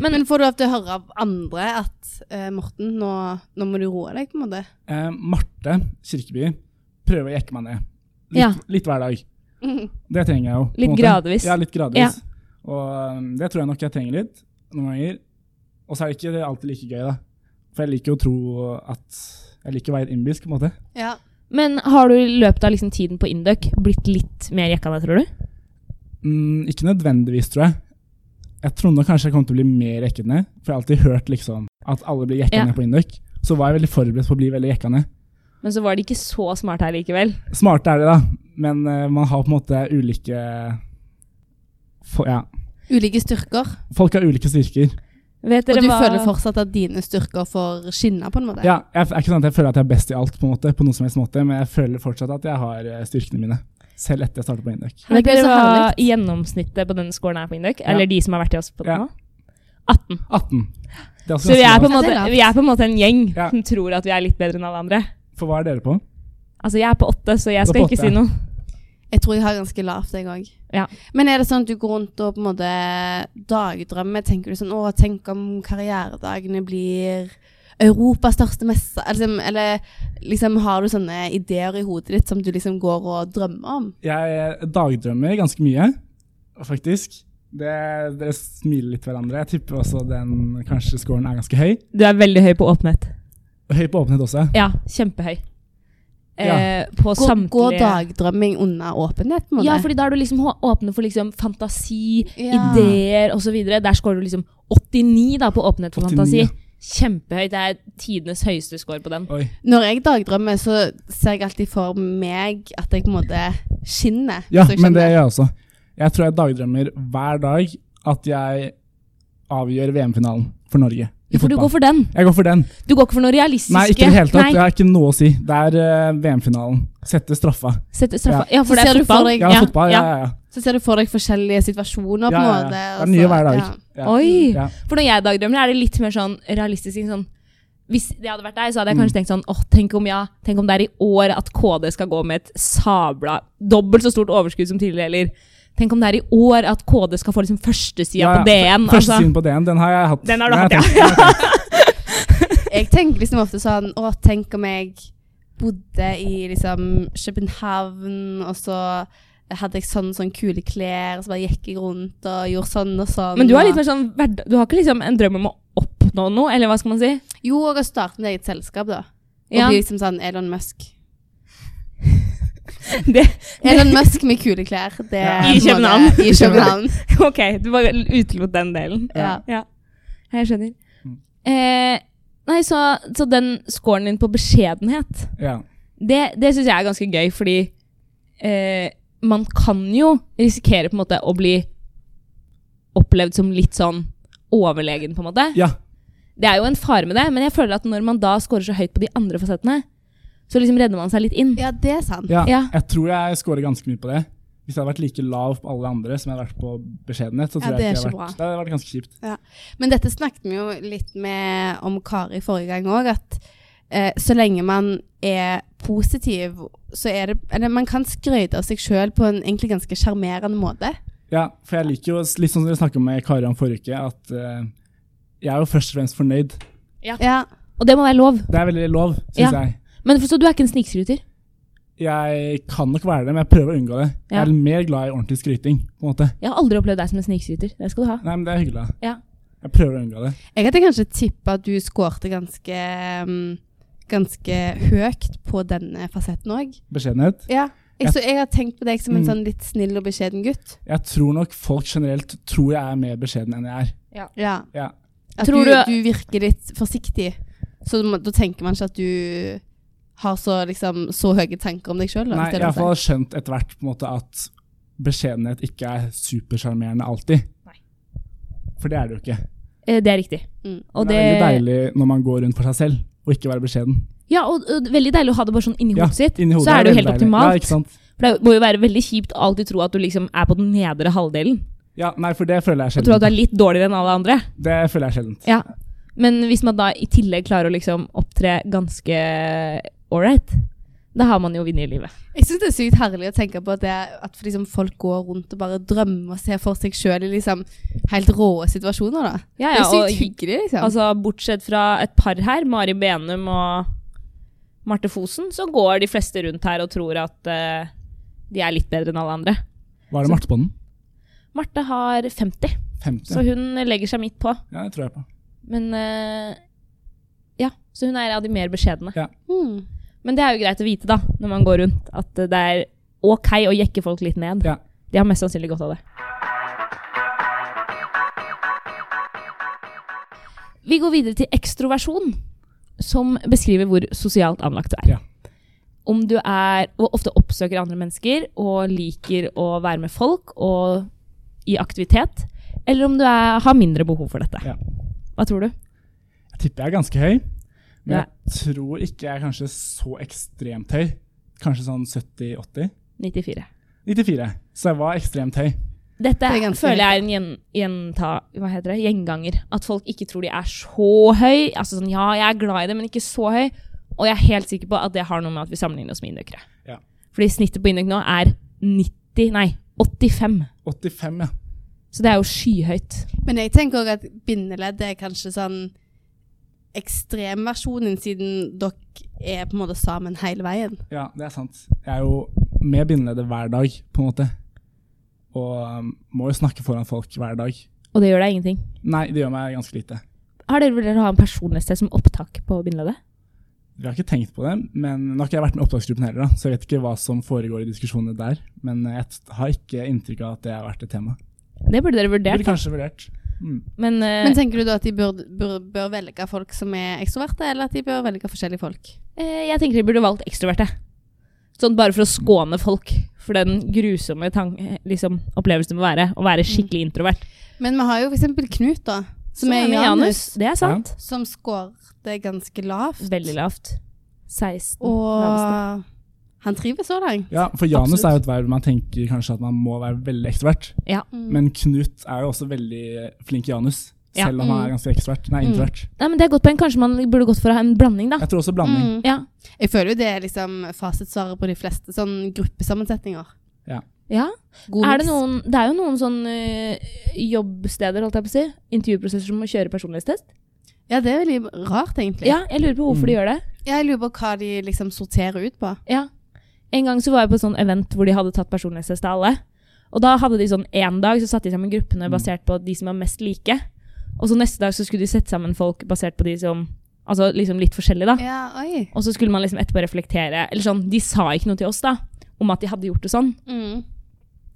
S2: Men, får du lov til å høre av andre at eh, Morten, nå, nå må du roe deg, på en måte?
S3: Eh, Marte Kirkeby prøver å jekke meg ned. Litt,
S1: Ja.
S3: litt hver dag.
S2: Mhm.
S3: Det trenger jeg jo. på en
S1: Litt
S3: måte.
S1: gradvis.
S3: Ja, litt gradvis. Og um, det tror jeg nok jeg trenger litt noen ganger. Og så er det ikke alltid like gøy, da. For jeg liker jo å tro at Jeg liker å være innbilsk, på en måte.
S2: Ja.
S1: Men har du i løpet av liksom tiden på Induc blitt litt mer jekka ned, tror du?
S3: Mm, ikke nødvendigvis, tror jeg. Jeg trodde kanskje jeg kom til å bli mer jekket ned, for jeg har alltid hørt liksom at alle blir jekka
S1: Ja.
S3: ned på Induc. Så var jeg veldig forberedt på å bli veldig jekka ned.
S1: Men så var de ikke så smarte her likevel.
S3: Smarte er de, da, men eh, man har på en måte ulike for, Ja.
S2: Ulike styrker.
S3: Folk har ulike styrker.
S1: Vet
S2: Og
S1: dere
S2: du
S1: hva
S2: føler fortsatt at dine styrker får skinne, på en måte?
S3: Ja, jeg, er ikke sånn at jeg føler at jeg er best i alt, på en måte, på noen som helst måte, men jeg føler fortsatt at jeg har eh, styrkene mine. Selv etter jeg startet på Indøk.
S1: Vet
S2: Det er
S1: dere
S2: så
S1: hva
S2: herlig.
S1: gjennomsnittet på den scoren er på Induc?
S3: Ja.
S1: Eller de som har vært i oss på den
S3: Ja.
S1: nå? 18.
S3: 18. Det er også
S1: Så vi er,
S2: Ja,
S1: på en
S3: ganske bra.
S2: det
S1: måte,
S2: er lavt.
S1: vi er på en måte en gjeng
S3: Ja.
S1: som tror at vi er litt bedre enn alle andre.
S3: For hva er dere på?
S1: Altså, jeg er på åtte, så jeg
S3: Du er
S1: skal
S3: på
S1: ikke si
S3: åtte.
S1: noe.
S2: Jeg tror jeg har ganske lavt, jeg òg.
S1: Ja.
S2: Men er det sånn at du går rundt og på en måte dagdrømmer? Tenker du sånn Å, tenk om karrieredagene blir Europas største messe? Eller, liksom- eller liksom har du sånne ideer i hodet ditt som du liksom går og drømmer om?
S3: Jeg dagdrømmer ganske mye, faktisk. Det, dere smiler litt til hverandre. Jeg tipper også den kanskje scoren er ganske høy.
S1: Du er veldig høy på åpenhet.
S3: Og høy på åpenhet også.
S1: Ja, kjempehøy. Eh, på
S2: Går,
S1: samtlige
S2: går dagdrømming under åpenhet? på en måte?
S1: Ja, fordi da er du liksom hå- åpne for liksom fantasi,
S2: Ja.
S1: ideer osv. Der scorer du liksom 89 da på åpenhet for
S3: 89, ja.
S1: fantasi. Kjempehøyt. Det er tidenes høyeste score på den.
S3: Oi.
S2: Når jeg dagdrømmer, så ser jeg alltid for meg at jeg på en måte skinner.
S3: Ja,
S2: hvis du
S3: men det
S2: skjønner.
S3: gjør jeg også. Jeg tror jeg dagdrømmer hver dag at jeg avgjør VM-finalen for Norge i
S1: For du går
S3: fotball.
S1: for den.
S3: Jeg går for den.
S1: Du går ikke for noe realistisk.
S3: Nei, ikke i det hele tatt.
S1: Nei,
S3: Jeg har ikke noe å si. Det er eh, VM-finalen. Sette straffa.
S1: sette straffa. Ja, for
S2: Så
S1: det
S2: ser
S1: er
S2: du for
S1: fotball.
S2: deg-
S3: Ja, fotball. Ja, ja, ja.
S2: Så ser du for deg forskjellige situasjoner, på
S3: ja,
S2: en
S3: ja, ja.
S2: måte.
S3: Det
S2: og
S3: er nye
S2: så-
S3: hver dag.
S2: ja.
S3: Ja.
S1: Oi!
S3: Ja.
S1: For når jeg dagdrømmer, er det litt mer sånn realistisk. Sånn, hvis det hadde vært deg, så hadde jeg kanskje
S3: Mm.
S1: tenkt sånn åh, tenk om, ja, tenk om det er i år at KD skal gå med et sabla dobbelt så stort overskudd som tidligere, eller tenk om det er i år at KD skal få liksom førstesida
S3: Ja, ja.
S1: på DN.
S3: Første
S1: Altså.
S3: siden på DN, den har jeg hatt.
S1: Den har du
S3: Nei,
S1: hatt,
S3: jeg
S1: ja.
S3: tenkte-
S2: Jeg tenker liksom ofte sånn Å, tenk om jeg bodde i liksom København, og så hadde jeg sånn sånn kule klær, og så bare gikk jeg rundt og gjorde sånn og sånn.
S1: [laughs] Men du har
S2: og-
S1: litt mer sånn hverdag- Du har ikke liksom en drøm om å oppnå noe, eller hva skal man si? [laughs]
S2: Jo, og å starte mitt eget selskap, da. Og
S1: Ja.
S2: bli liksom sånn Elon Musk.
S1: Det,
S2: Elon Musk med kule klær. Det er
S1: I
S2: på en
S1: København.
S2: måte- I København.
S1: ok, du bare utelot den delen.
S2: Ja.
S1: Ja, jeg skjønner.
S3: Mm.
S1: Eh, nei, så, så den scoren din på beskjedenhet
S3: Ja.
S1: det, det syns jeg er ganske gøy, fordi eh, man kan jo risikere på en måte å bli opplevd som litt sånn overlegen, på en måte.
S3: ja.
S1: Det er jo en fare med det, men jeg føler at når man da scorer så høyt på de andre fasettene, så liksom redder man seg litt inn.
S2: Ja, det er sant.
S3: ja.
S1: Ja.
S3: Jeg tror jeg scorer ganske mye på det. Hvis jeg hadde vært like lav på alle andre som jeg hadde vært på beskjedenhet, så
S2: Ja, det
S3: tror
S2: er
S3: jeg ikke jeg
S2: ikke
S3: hadde vært, det hadde vært ganske kjipt.
S2: Men dette snakket vi jo litt med om Kari forrige gang òg, at eh, så lenge man er positiv, så er det Eller man kan skryte av seg sjøl på en egentlig ganske sjarmerende måte.
S3: Ja, for jeg liker jo s- litt sånn som dere snakket med Kari om forrige uke, at eh, jeg er jo først og fremst fornøyd.
S2: Ja.
S1: Og det må være lov.
S3: Det er veldig lov,
S1: Ja.
S3: syns jeg.
S1: Men for, Så du er ikke en snikskryter?
S3: Jeg kan nok være det, men jeg prøver å unngå det. Jeg er mer glad i ordentlig skryting, på en måte.
S1: Jeg har aldri opplevd deg som en snikskryter. Det skal du ha.
S3: Nei, men det er hyggelig. da.
S1: Ja.
S3: Jeg prøver å unngå det.
S2: Jeg hadde kanskje tippa at du skårte ganske mm, Ganske høyt på denne fasetten òg.
S3: Beskjedenhet.
S2: Ja. Jeg, så jeg har tenkt på deg som en
S3: Mm.
S2: sånn litt snill og beskjeden gutt.
S3: Jeg tror nok folk generelt tror jeg er mer beskjeden enn jeg er.
S2: Ja.
S3: Ja.
S2: At
S1: Tror
S2: du,
S1: du-
S2: du virker litt forsiktig. Så du må- da tenker man ikke at du har så, liksom, så høye tanker om deg sjøl.
S3: Nei, jeg har i hvert fall skjønt etter hvert på en måte at beskjedenhet ikke er supersjarmerende alltid.
S1: Nei.
S3: For det er det jo ikke.
S1: Eh, det er riktig.
S2: Mm.
S1: Og
S3: det...
S1: det,
S3: er veldig deilig når man går rundt for seg selv og ikke være beskjeden.
S1: ja, og, og veldig deilig å ha det bare sånn inni hodet sitt.
S3: inni
S1: så
S3: hodet
S1: er det jo
S3: veldig
S1: helt
S3: deilig. Ja,
S1: optimalt.
S3: ikke sant?
S1: for det må jo være veldig kjipt å alltid tro at du liksom er på den nedre halvdelen.
S3: Ja, nei, for det føler jeg
S1: Og tro at du
S3: sjelden.
S1: er litt dårligere enn alle andre.
S3: Det føler jeg sjelden.
S1: Ja. Men hvis man da i tillegg klarer å liksom opptre ganske ålreit, Da har man jo vunnet i livet.
S2: Jeg syns det er sykt herlig å tenke på det, at for liksom folk går rundt og bare drømmer og ser for seg sjøl i liksom helt rå situasjoner, da.
S1: Ja,
S2: Det er
S1: ja, og,
S2: sykt hyggelig, liksom.
S1: altså, bortsett fra et par her, Mari Benum og Marte Fosen, så går de fleste rundt her og tror at eh, de er litt bedre enn alle andre.
S3: Hva er det Marte på den?
S1: Marte har 50,
S3: 50?
S1: så hun legger seg midt på.
S3: Ja, det tror jeg på.
S1: Men eh, Ja, så hun er av de mer beskjedne.
S2: mm.
S1: Men det er jo greit å vite, da, når man går rundt, at det er OK å jekke folk litt ned.
S3: Ja.
S1: De har mest sannsynlig godt av det. Vi går videre til ekstroversjon, som beskriver hvor sosialt anlagt du er.
S3: Ja.
S1: Om du er og ofte oppsøker andre mennesker og liker å være med folk og i aktivitet, eller om du er, har mindre behov for dette.
S3: Ja.
S1: Hva tror du?
S3: Jeg tipper jeg er ganske høy, men
S1: Ja.
S3: jeg tror ikke jeg er kanskje så ekstremt høy. Kanskje sånn 70-80?
S1: 94.
S3: 94. Så jeg var ekstremt høy.
S1: Dette
S2: Det er ganske
S1: føler jeg er en gjen, gjenta, hva heter det? gjenganger. At folk ikke tror de er så høy. Altså sånn, ja, jeg er glad i det, men ikke så høy. Og jeg er helt sikker på at det har noe med at vi sammenligner oss med indøkere.
S3: Ja.
S1: Fordi snittet på indøk nå er 90, nei, 85.
S3: 85, ja.
S1: Så det er jo skyhøyt.
S2: Men jeg tenker òg at bindeledd er kanskje sånn ekstremversjonen, siden dere er på en måte sammen hele veien.
S3: Ja, det er sant. Jeg er jo med bindeleddet hver dag, på en måte. Og um, må jo snakke foran folk hver dag.
S1: Og det gjør deg ingenting.
S3: Nei, det gjør meg ganske lite.
S1: Har dere vurdert å ha en personlighetstest som opptak på bindeleddet?
S3: Vi har ikke tenkt på det, men nå har ikke jeg vært med i opptaksgruppen heller, da, så jeg vet ikke hva som foregår i diskusjonene der. Men jeg t- har ikke inntrykk av at det har vært et tema.
S1: Det burde dere vurdert.
S3: Burde kanskje vurdert. Mm.
S1: Men, eh,
S2: Men tenker du da at de bør, bør, bør velge folk som er ekstroverte, eller at de bør velge forskjellige folk?
S1: Eh, jeg tenker de burde valgt ekstroverte. Sånn bare for å skåne folk for den grusomme tan- eh, liksom, opplevelsen det må være å være skikkelig introvert.
S2: Men vi har jo f.eks. Knut, da, som
S1: Sånn
S2: er
S1: med
S2: Janus,
S1: Det er sant.
S2: som skårte ganske lavt.
S1: Veldig lavt. 16. laveste.
S2: Og han trives så langt.
S3: Ja, for Janus
S1: Absolutt.
S3: er jo et verv man tenker kanskje at man må være veldig ekstrovert.
S1: Ja.
S2: Mm.
S3: Men Knut er jo også veldig flink Janus,
S1: Ja.
S3: selv om han
S2: Mm.
S3: er ganske ekstrovert. Nei,
S2: Mm.
S3: introvert.
S1: Nei, men det er godt poeng. Kanskje man burde gått for å ha en blanding, da.
S3: Jeg tror også blanding.
S2: Mm.
S1: Ja.
S2: Jeg føler jo det er liksom fasitsvaret på de fleste sånn gruppesammensetninger.
S1: ja.
S2: God
S1: Er det,
S2: mix.
S1: noen, det er jo noen sånn eh, jobbsteder, holdt jeg på å si, intervjuprosesser som må kjøre personlighetstest.
S2: Ja, det er veldig rart, egentlig.
S1: Ja, jeg lurer på hvorfor
S3: Mm.
S1: de gjør det.
S2: Jeg lurer på hva de liksom sorterer ut på.
S1: Ja. En gang så var jeg på et sånn event hvor de hadde tatt personlighetstest til alle. Og da hadde de sånn én dag så satte de sammen gruppene basert på de som var mest like. Og så neste dag så skulle de sette sammen folk basert på de som Altså liksom litt forskjellig, da.
S2: Ja, oi.
S1: Og så skulle man liksom etterpå reflektere Eller sånn, de sa ikke noe til oss, da, om at de hadde gjort det sånn.
S2: Mm.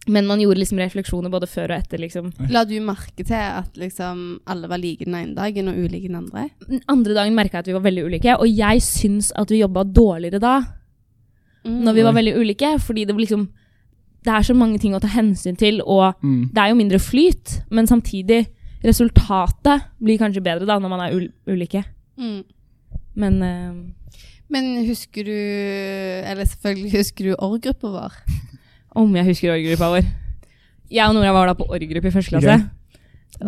S1: Men man gjorde liksom refleksjoner både før og etter, liksom.
S2: La du merke til at liksom alle var like den ene dagen og ulike den andre?
S1: Den andre dagen merka jeg at vi var veldig ulike, og jeg syns at vi jobba dårligere da.
S2: Mm.
S1: Når vi var
S3: Oi.
S1: veldig ulike, fordi det var liksom Det er så mange ting å ta hensyn til, og
S3: Mm.
S1: det er jo mindre flyt, men samtidig Resultatet blir kanskje bedre da når man er ul ulike.
S2: Mm.
S1: Men eh,
S2: Men husker du Eller selvfølgelig husker du org-gruppa vår.
S1: om jeg husker org-gruppa vår Jeg og Nora var da på org-gruppe i første klasse.
S3: Ok.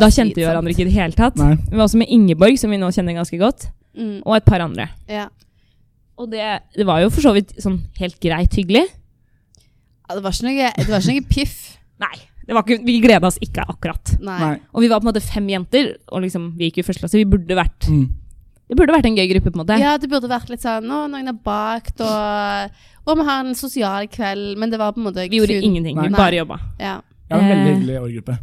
S1: Da kjente vi
S2: slitsomt.
S1: hverandre ikke i det hele tatt.
S3: Nei.
S1: Vi var også med Ingeborg, som vi nå kjenner ganske godt,
S2: Mm.
S1: og et par andre.
S2: Ja.
S1: Og det, det var jo for så vidt sånn helt greit hyggelig.
S2: Ja, Det var ikke noe, det var ikke noe piff.
S1: Nei, det var ikke, vi gleda oss ikke akkurat.
S2: Nei.
S3: Nei.
S1: Og vi var på en måte fem jenter, og liksom, vi gikk jo i første klasse. Vi burde vært,
S3: Mm.
S1: det burde vært en gøy gruppe, på en måte.
S2: Ja, det burde vært litt sånn Å, noen har bakt, og Og vi har en sosial kveld, men det var på en måte
S1: Vi gjorde
S2: kun-
S1: ingenting, vi
S3: Nei.
S1: bare jobba.
S2: Ja.
S3: Jeg har en veldig
S1: Eh.
S3: hyggelig årgruppe.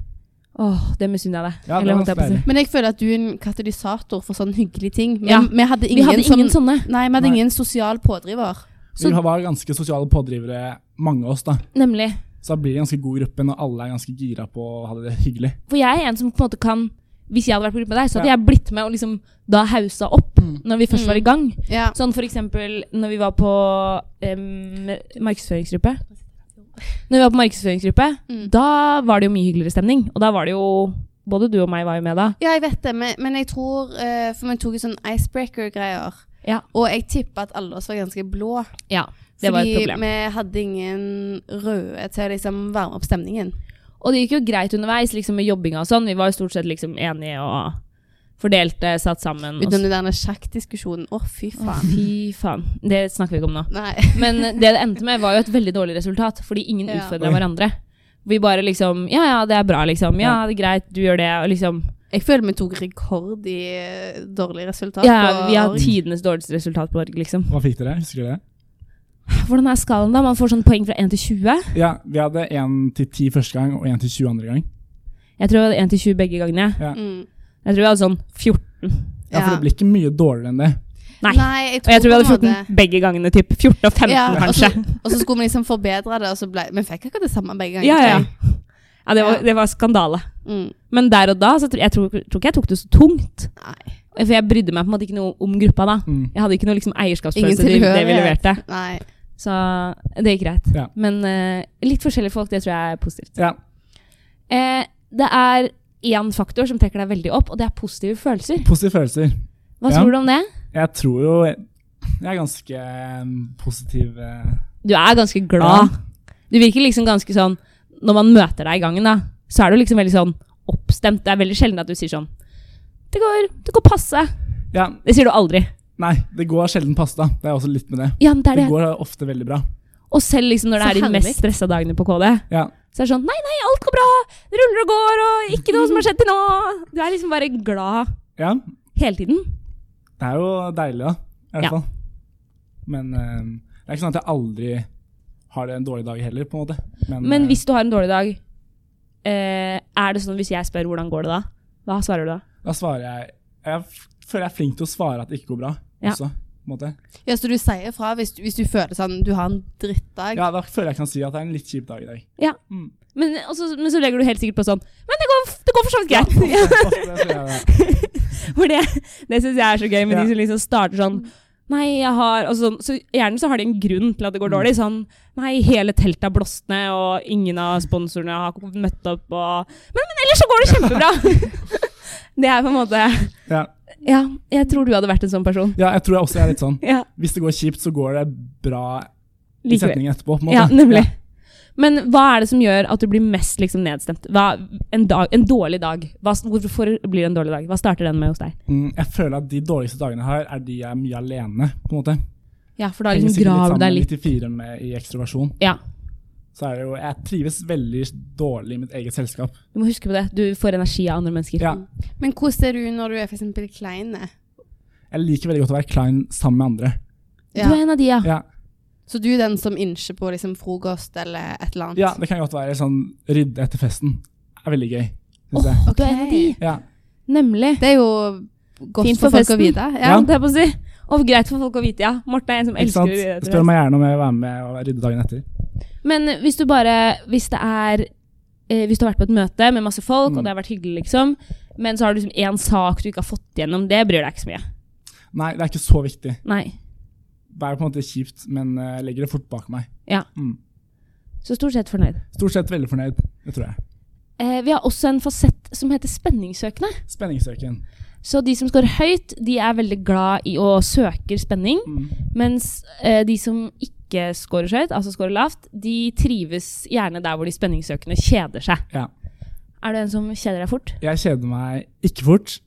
S1: Åh, det misunner jeg deg.
S3: Ja, det
S1: Eller
S3: var
S1: holdt jeg på å si.
S3: deilig.
S2: Men jeg føler at du er en katalysator for sånne hyggelige ting. Men
S1: Ja.
S2: vi hadde ingen,
S1: Vi hadde ingen
S2: som,
S1: sånne.
S2: Nei, vi hadde
S3: Nei.
S2: ingen sosial pådriver.
S1: Så-
S3: Vi var ganske sosiale pådrivere, mange av oss, da.
S1: Nemlig.
S3: Så da blir det en ganske god gruppe når alle er ganske gira på å ha det hyggelig.
S1: For jeg er en som på en måte kan Hvis jeg hadde vært på gruppe med deg, så hadde jeg blitt med og liksom da hausa opp
S3: Mm.
S1: når vi først var i gang.
S2: Ja.
S1: Sånn for eksempel når vi var på em, markedsføringsgruppe. Når vi var på markedsføringsgruppe,
S2: Mm.
S1: da var det jo mye hyggeligere stemning. Og da var det jo Både du og meg var jo med da.
S2: Ja, jeg vet det, men, men jeg tror eh, For vi tok jo sånn icebreaker-greier.
S1: Ja.
S2: Og jeg tipper at alle oss var ganske blå.
S1: Ja, det var et problem.
S2: Fordi vi hadde ingen røde til å liksom varme opp stemningen.
S1: Og det gikk jo greit underveis liksom med jobbinga og sånn. Vi var jo stort sett liksom enige og Fordelte, satt sammen. Og
S2: Utenom
S1: så,
S2: den der sjakkdiskusjonen. Å, fy
S1: Mm.
S2: faen.
S1: fy faen. Det snakker vi ikke om nå.
S2: Nei.
S1: Men det det endte med, var jo et veldig dårlig resultat, fordi ingen
S2: Ja.
S1: utfordra hverandre. Vi bare liksom Ja, ja, det er bra, liksom. Ja, det er greit, du gjør det. Og liksom
S2: Jeg føler vi tok rekord i eh, dårlig resultat.
S1: Ja,
S2: på
S1: vi har
S2: org.
S1: tidenes dårligste resultat på org, liksom.
S3: Hva fikk dere? Husker dere?
S1: Hvordan er skalaen, da? Man får sånn poeng fra 1 til 20.
S3: Ja, vi hadde 1 til 10 første gang og 1 til 20 andre gang.
S1: Jeg tror jeg hadde 1 til 20 begge gangene. jeg.
S2: Mm.
S1: Jeg tror vi hadde sånn 14.
S3: Ja, for
S2: Ja.
S3: det blir ikke mye dårligere enn det.
S1: Nei.
S2: Nei, jeg
S1: Og jeg tror vi hadde
S2: på en
S1: 14
S2: måte-
S1: begge gangene, typ. 14 og 15,
S2: Ja, og
S1: kanskje.
S2: så- Og så skulle vi liksom forbedre det, og så ble Vi fikk akkurat det samme begge ganger.
S1: Ja, ja.
S2: tror jeg.
S1: Ja, det var,
S2: Ja.
S1: det var skandale.
S2: Mm.
S1: Men der og da så tror jeg, tror, tror ikke jeg tok det så tungt.
S2: Nei.
S1: For jeg brydde meg på en måte ikke noe om gruppa da.
S3: Mm.
S1: Jeg hadde ikke noe liksom eierskapsfølelse
S2: Ingen
S1: til det vi
S2: tilhørighet.
S1: leverte.
S2: Nei.
S1: Så det gikk greit.
S3: Ja.
S1: Men eh, litt forskjellige folk, det tror jeg er positivt.
S3: Ja.
S1: Eh, det er én faktor som trekker deg veldig opp, og det er positive følelser.
S3: Positive følelser.
S1: Hva
S3: Ja.
S1: tror du om det?
S3: Jeg tror jo jeg jeg er ganske mm, positiv eh,
S1: Du er ganske glad. Du virker liksom ganske sånn Når man møter deg i gangen, da, så er du liksom veldig sånn oppstemt. Det er veldig sjelden at du sier sånn Det går, det går passe.
S3: Ja,
S1: Det sier du aldri.
S3: nei, det går sjelden pasta. Det er også litt med det.
S1: Ja, men det er
S3: Det
S1: det.
S3: går ofte veldig bra.
S1: Og selv liksom når det
S2: Så
S1: er de
S2: herlig.
S1: mest stressa dagene på KD,
S3: Ja,
S1: så er det sånn Nei, nei, alt går bra. Det ruller og går, og ikke noe som har skjedd til nå. Du er liksom bare glad
S3: ja.
S1: hele tiden.
S3: Det er jo deilig, da. I hvert
S1: Ja.
S3: fall. Men eh, det er ikke sånn at jeg aldri har det en dårlig dag heller, på en måte.
S1: Men
S3: eh,
S1: hvis du har en dårlig dag, eh, er det sånn hvis jeg spør hvordan går det da? Hva svarer du da?
S3: da svarer jeg Jeg f- føler jeg er flink til å svare at det ikke går bra
S1: Ja.
S3: også. På en måte.
S2: Ja, så du sier fra hvis, hvis du føler sånn du har en drittdag.
S3: Ja, da føler jeg jeg kan si at det er en litt kjip dag Mm. i dag.
S1: [laughs] Men, og så- men så legger du helt sikkert på sånn Men det går, det går for så vidt
S3: [laughs]
S1: greit. [laughs]
S3: Ofte sier jeg det.
S1: For det, det syns jeg er så gøy med
S3: Ja.
S1: de som liksom starter sånn Nei, jeg har og sånn, så Gjerne så har de en grunn til at
S3: Mm.
S1: det går dårlig. Sånn Nei, hele teltet har blåst ned, og ingen av sponsorene har møtt opp, og Men, men ellers så går det kjempebra! [laughs] Det er på en måte
S3: Ja.
S1: Ja, jeg tror du hadde vært en sånn person.
S3: ja, jeg tror jeg også er litt sånn.
S1: Ja,
S3: Hvis det går kjipt, så går det bra i
S1: likevel.
S3: setningen etterpå. På en måte.
S1: Ja, nemlig. Men hva er det som gjør at du blir mest liksom, nedstemt? Hva, en, dag, en dårlig dag. Hva, hvorfor blir det en dårlig dag? Hva starter den med hos deg?
S3: Mm, Jeg føler at de dårligste dagene her er de jeg er mye alene, på en måte.
S1: Ja, for da
S3: Henger
S1: liksom
S3: sikkert litt
S1: graver du
S3: sammen
S1: deg
S3: med
S1: litt
S3: 94 med i ekstroversjon.
S1: Ja,
S3: Så er det jo Jeg trives veldig dårlig i mitt eget selskap.
S1: du må huske på det. Du får energi av andre mennesker.
S3: Ja,
S2: Men hvordan er du når du er for eksempel kleine?
S3: jeg liker veldig godt å være klein sammen med andre.
S1: Du er en av de, ja.
S3: Ja,
S2: Så du er den som innser på liksom frokost eller et eller annet?
S3: ja det kan godt være sånn rydde etter festen. Det er veldig gøy. Synes jeg.
S1: Du er en av de.
S2: Ok.
S3: Ja.
S1: Nemlig.
S2: Det er jo godt
S1: Fint
S2: for,
S1: for
S2: folk å
S1: festen.
S2: vite.
S1: Ja,
S2: Ja.
S1: det er på å si. Og greit for folk å vite, ja. Morten er en som
S3: Ikke
S1: elsker å
S3: sant?
S1: gjøre det.
S3: Spør meg gjerne om jeg vil være med og rydde dagen etter.
S1: Men eh, hvis du bare Hvis det er eh, Hvis du har vært på et møte med masse folk,
S3: Mm.
S1: og det har vært hyggelig, liksom, men så har du liksom én sak du ikke har fått gjennom, det bryr deg ikke så mye.
S3: Nei, det er ikke så viktig.
S1: Nei.
S3: Det er på en måte kjipt, men eh, jeg legger det fort bak meg.
S1: Ja.
S3: Mm.
S1: Så stort sett fornøyd.
S3: Stort sett veldig fornøyd, det tror jeg.
S1: Eh, vi har også en fasett som heter spenningssøkende.
S3: Spenningssøken.
S1: Så de som scorer høyt, de er veldig glad i å søker spenning.
S3: Mm.
S1: Mens eh, de som ikke scorer så høyt, altså scorer lavt, de trives gjerne der hvor de spenningssøkende kjeder seg.
S3: Ja.
S1: Er du en som kjeder deg fort?
S3: Jeg kjeder meg ikke fort.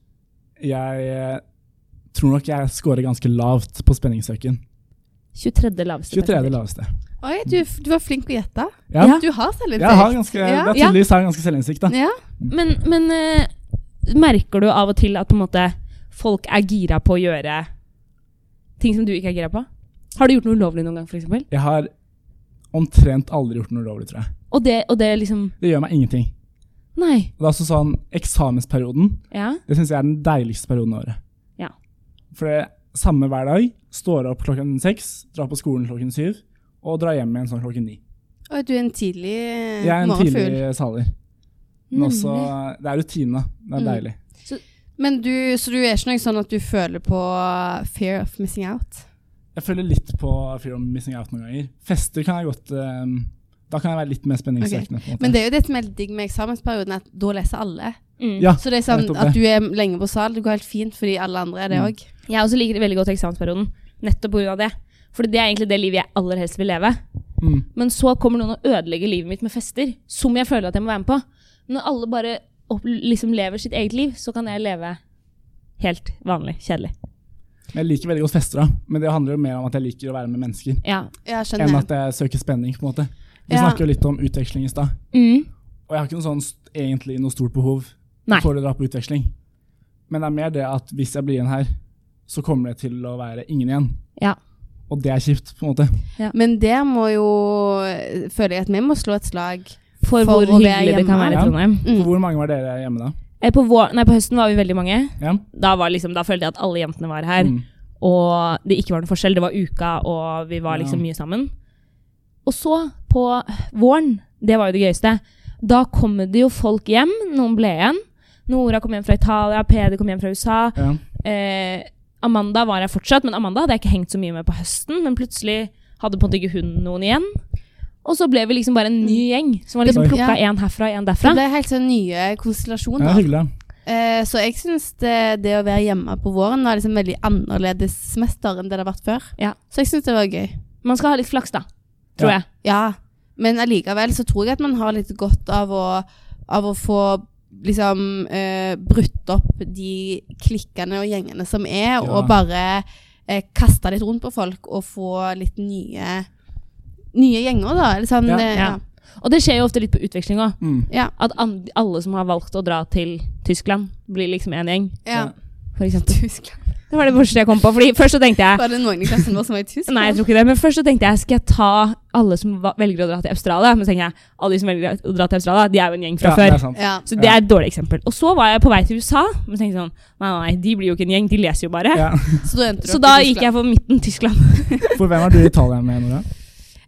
S3: Jeg eh, tror nok jeg scorer ganske lavt på spenningssøken.
S1: 23. laveste.
S3: 23.
S1: persenter.
S3: laveste.
S2: Oi, du, du var flink å gjette.
S3: Ja.
S2: Du har selvinnsikt.
S3: Jeg har ganske,
S2: Ja.
S3: det er tydeligvis har jeg ganske selvinnsikt, da.
S2: Ja.
S1: Men, men eh, merker du av og til at på en måte folk er gira på å gjøre ting som du ikke er gira på? Har du gjort noe ulovlig noen gang, f.eks.?
S3: Jeg har omtrent aldri gjort noe ulovlig, tror jeg.
S1: Og det, og det liksom
S3: Det gjør meg ingenting.
S1: Nei.
S3: Og det er også sånn, Eksamensperioden
S1: Ja.
S3: det syns jeg er den deiligste perioden av året.
S1: Ja.
S3: For det er samme hver dag. Står opp klokken seks, drar på skolen klokken syv og drar hjem igjen sånn klokken ni.
S2: Oi, du er en tidlig eh,
S3: Jeg er en
S2: morgenfugl.
S3: tidlig saler. Men også, det er rutine. Det er
S2: Mm.
S3: deilig.
S2: Men du, så du er ikke noe sånn at du føler på eh, fear of missing out?
S3: Jeg føler litt på fear of missing out noen ganger. Fester kan jeg godt eh, Da kan jeg være litt mer spenningssøkende. på en måte.
S2: Men det er jo det som er litt digg med eksamensperioden, at da leser alle.
S1: Mm.
S3: Ja,
S2: Så det er sånn
S3: nettopp det.
S2: at du er lenge på sal, det går helt fint fordi alle andre er det
S3: Mm.
S2: òg.
S1: Jeg også liker veldig godt eksamensperioden, nettopp pga. det. For det er egentlig det livet jeg aller helst vil leve.
S3: Mm.
S1: Men så kommer noen og ødelegger livet mitt med fester, som jeg føler at jeg må være med på. Når alle bare opp, liksom lever sitt eget liv, så kan jeg leve Helt vanlig. Kjedelig.
S3: Men Jeg liker veldig godt fester, da. Men det handler jo mer om at jeg liker å være med mennesker.
S1: Ja.
S2: Ja,
S3: Enn
S2: skjønner.
S3: at jeg søker spenning, på en måte. Vi
S2: Ja.
S3: snakker jo litt om utveksling i stad. Og jeg har ikke noe sånn, st- egentlig noe stort behov
S1: Mm. Nei.
S3: for å dra på utveksling. Men det er mer det at hvis jeg blir igjen her, så kommer det til å være ingen igjen.
S1: Ja.
S3: Og det er kjipt, på en måte.
S2: Men der må jo eh, Føler jeg at vi må slå et slag. For
S1: For, hvor
S2: hvor vi er
S1: hyggelig det kan
S2: hjemme.
S1: være i
S3: Ja.
S1: Trondheim.
S2: Mm.
S3: For hvor mange var dere hjemme da?
S1: Eh, På, vår, nei, på høsten var vi veldig mange.
S3: Ja.
S1: Da, var liksom, da følte jeg at alle jentene var her.
S3: Mm.
S1: Og det ikke var noen forskjell. Det var uka, og vi var liksom
S3: Ja.
S1: mye sammen. Og så, på våren, det var jo det gøyeste, da kom det jo folk hjem. Noen ble igjen. Nora kom hjem fra Italia, Peder kom hjem fra USA.
S3: Ja.
S1: Eh, Amanda var her fortsatt, men Amanda hadde jeg ikke hengt så mye med på høsten. Men plutselig hadde på en måte ikke hun noen igjen. Og så ble vi liksom bare en ny gjeng. Som var liksom
S3: Mm. Oi.
S1: plukka
S2: Ja.
S1: én herfra og én
S2: Det
S1: derfra.
S2: ble helt sånn nye
S3: Ja, det
S2: konstellasjoner.
S3: er hyggelig.
S2: Eh, så jeg syns det, det å være hjemme på våren var liksom veldig annerledes semester enn det det har vært før.
S1: Ja.
S2: Så jeg syns det var gøy.
S1: Man skal ha litt flaks, da. Tror
S3: Ja.
S1: jeg.
S2: Ja, men allikevel så tror jeg at man har litt godt av å, av å få liksom eh, brutt opp de klikkene og gjengene som er, og bare eh, kaste litt rundt på folk og få litt nye, nye gjenger, da. Eller sånn,
S3: Ja,
S2: eh,
S1: ja. Og det skjer jo ofte litt på utveksling òg.
S3: Mm.
S2: Ja,
S1: At an alle som har valgt å dra til Tyskland, blir liksom én gjeng,
S2: ja.
S3: Ja.
S1: for eksempel.
S2: [laughs] Tyskland.
S1: Det var det første jeg kom på. Fordi først så tenkte jeg [laughs]
S2: Var det noen i klassen vår som var i Tyskland?
S1: Nei, jeg tror ikke det. Men først så tenkte jeg skal jeg ta alle som va- velger å dra til Australia. Men så tenker jeg alle de som velger å dra til Australia, de er jo en gjeng fra
S3: Ja, det
S1: før.
S3: er sant.
S2: [laughs] Ja.
S1: Så det er et dårlig eksempel. Og så var jeg på vei til USA. Men tenkte jeg sånn, nei, nei, nei, de blir jo ikke en gjeng, de leser jo bare.
S3: Ja.
S2: Så da endte du
S1: Så
S2: opp
S1: da
S2: i
S1: gikk
S2: Tyskland.
S1: jeg for midten Tyskland.
S3: For hvem er du i Italia med, Nora?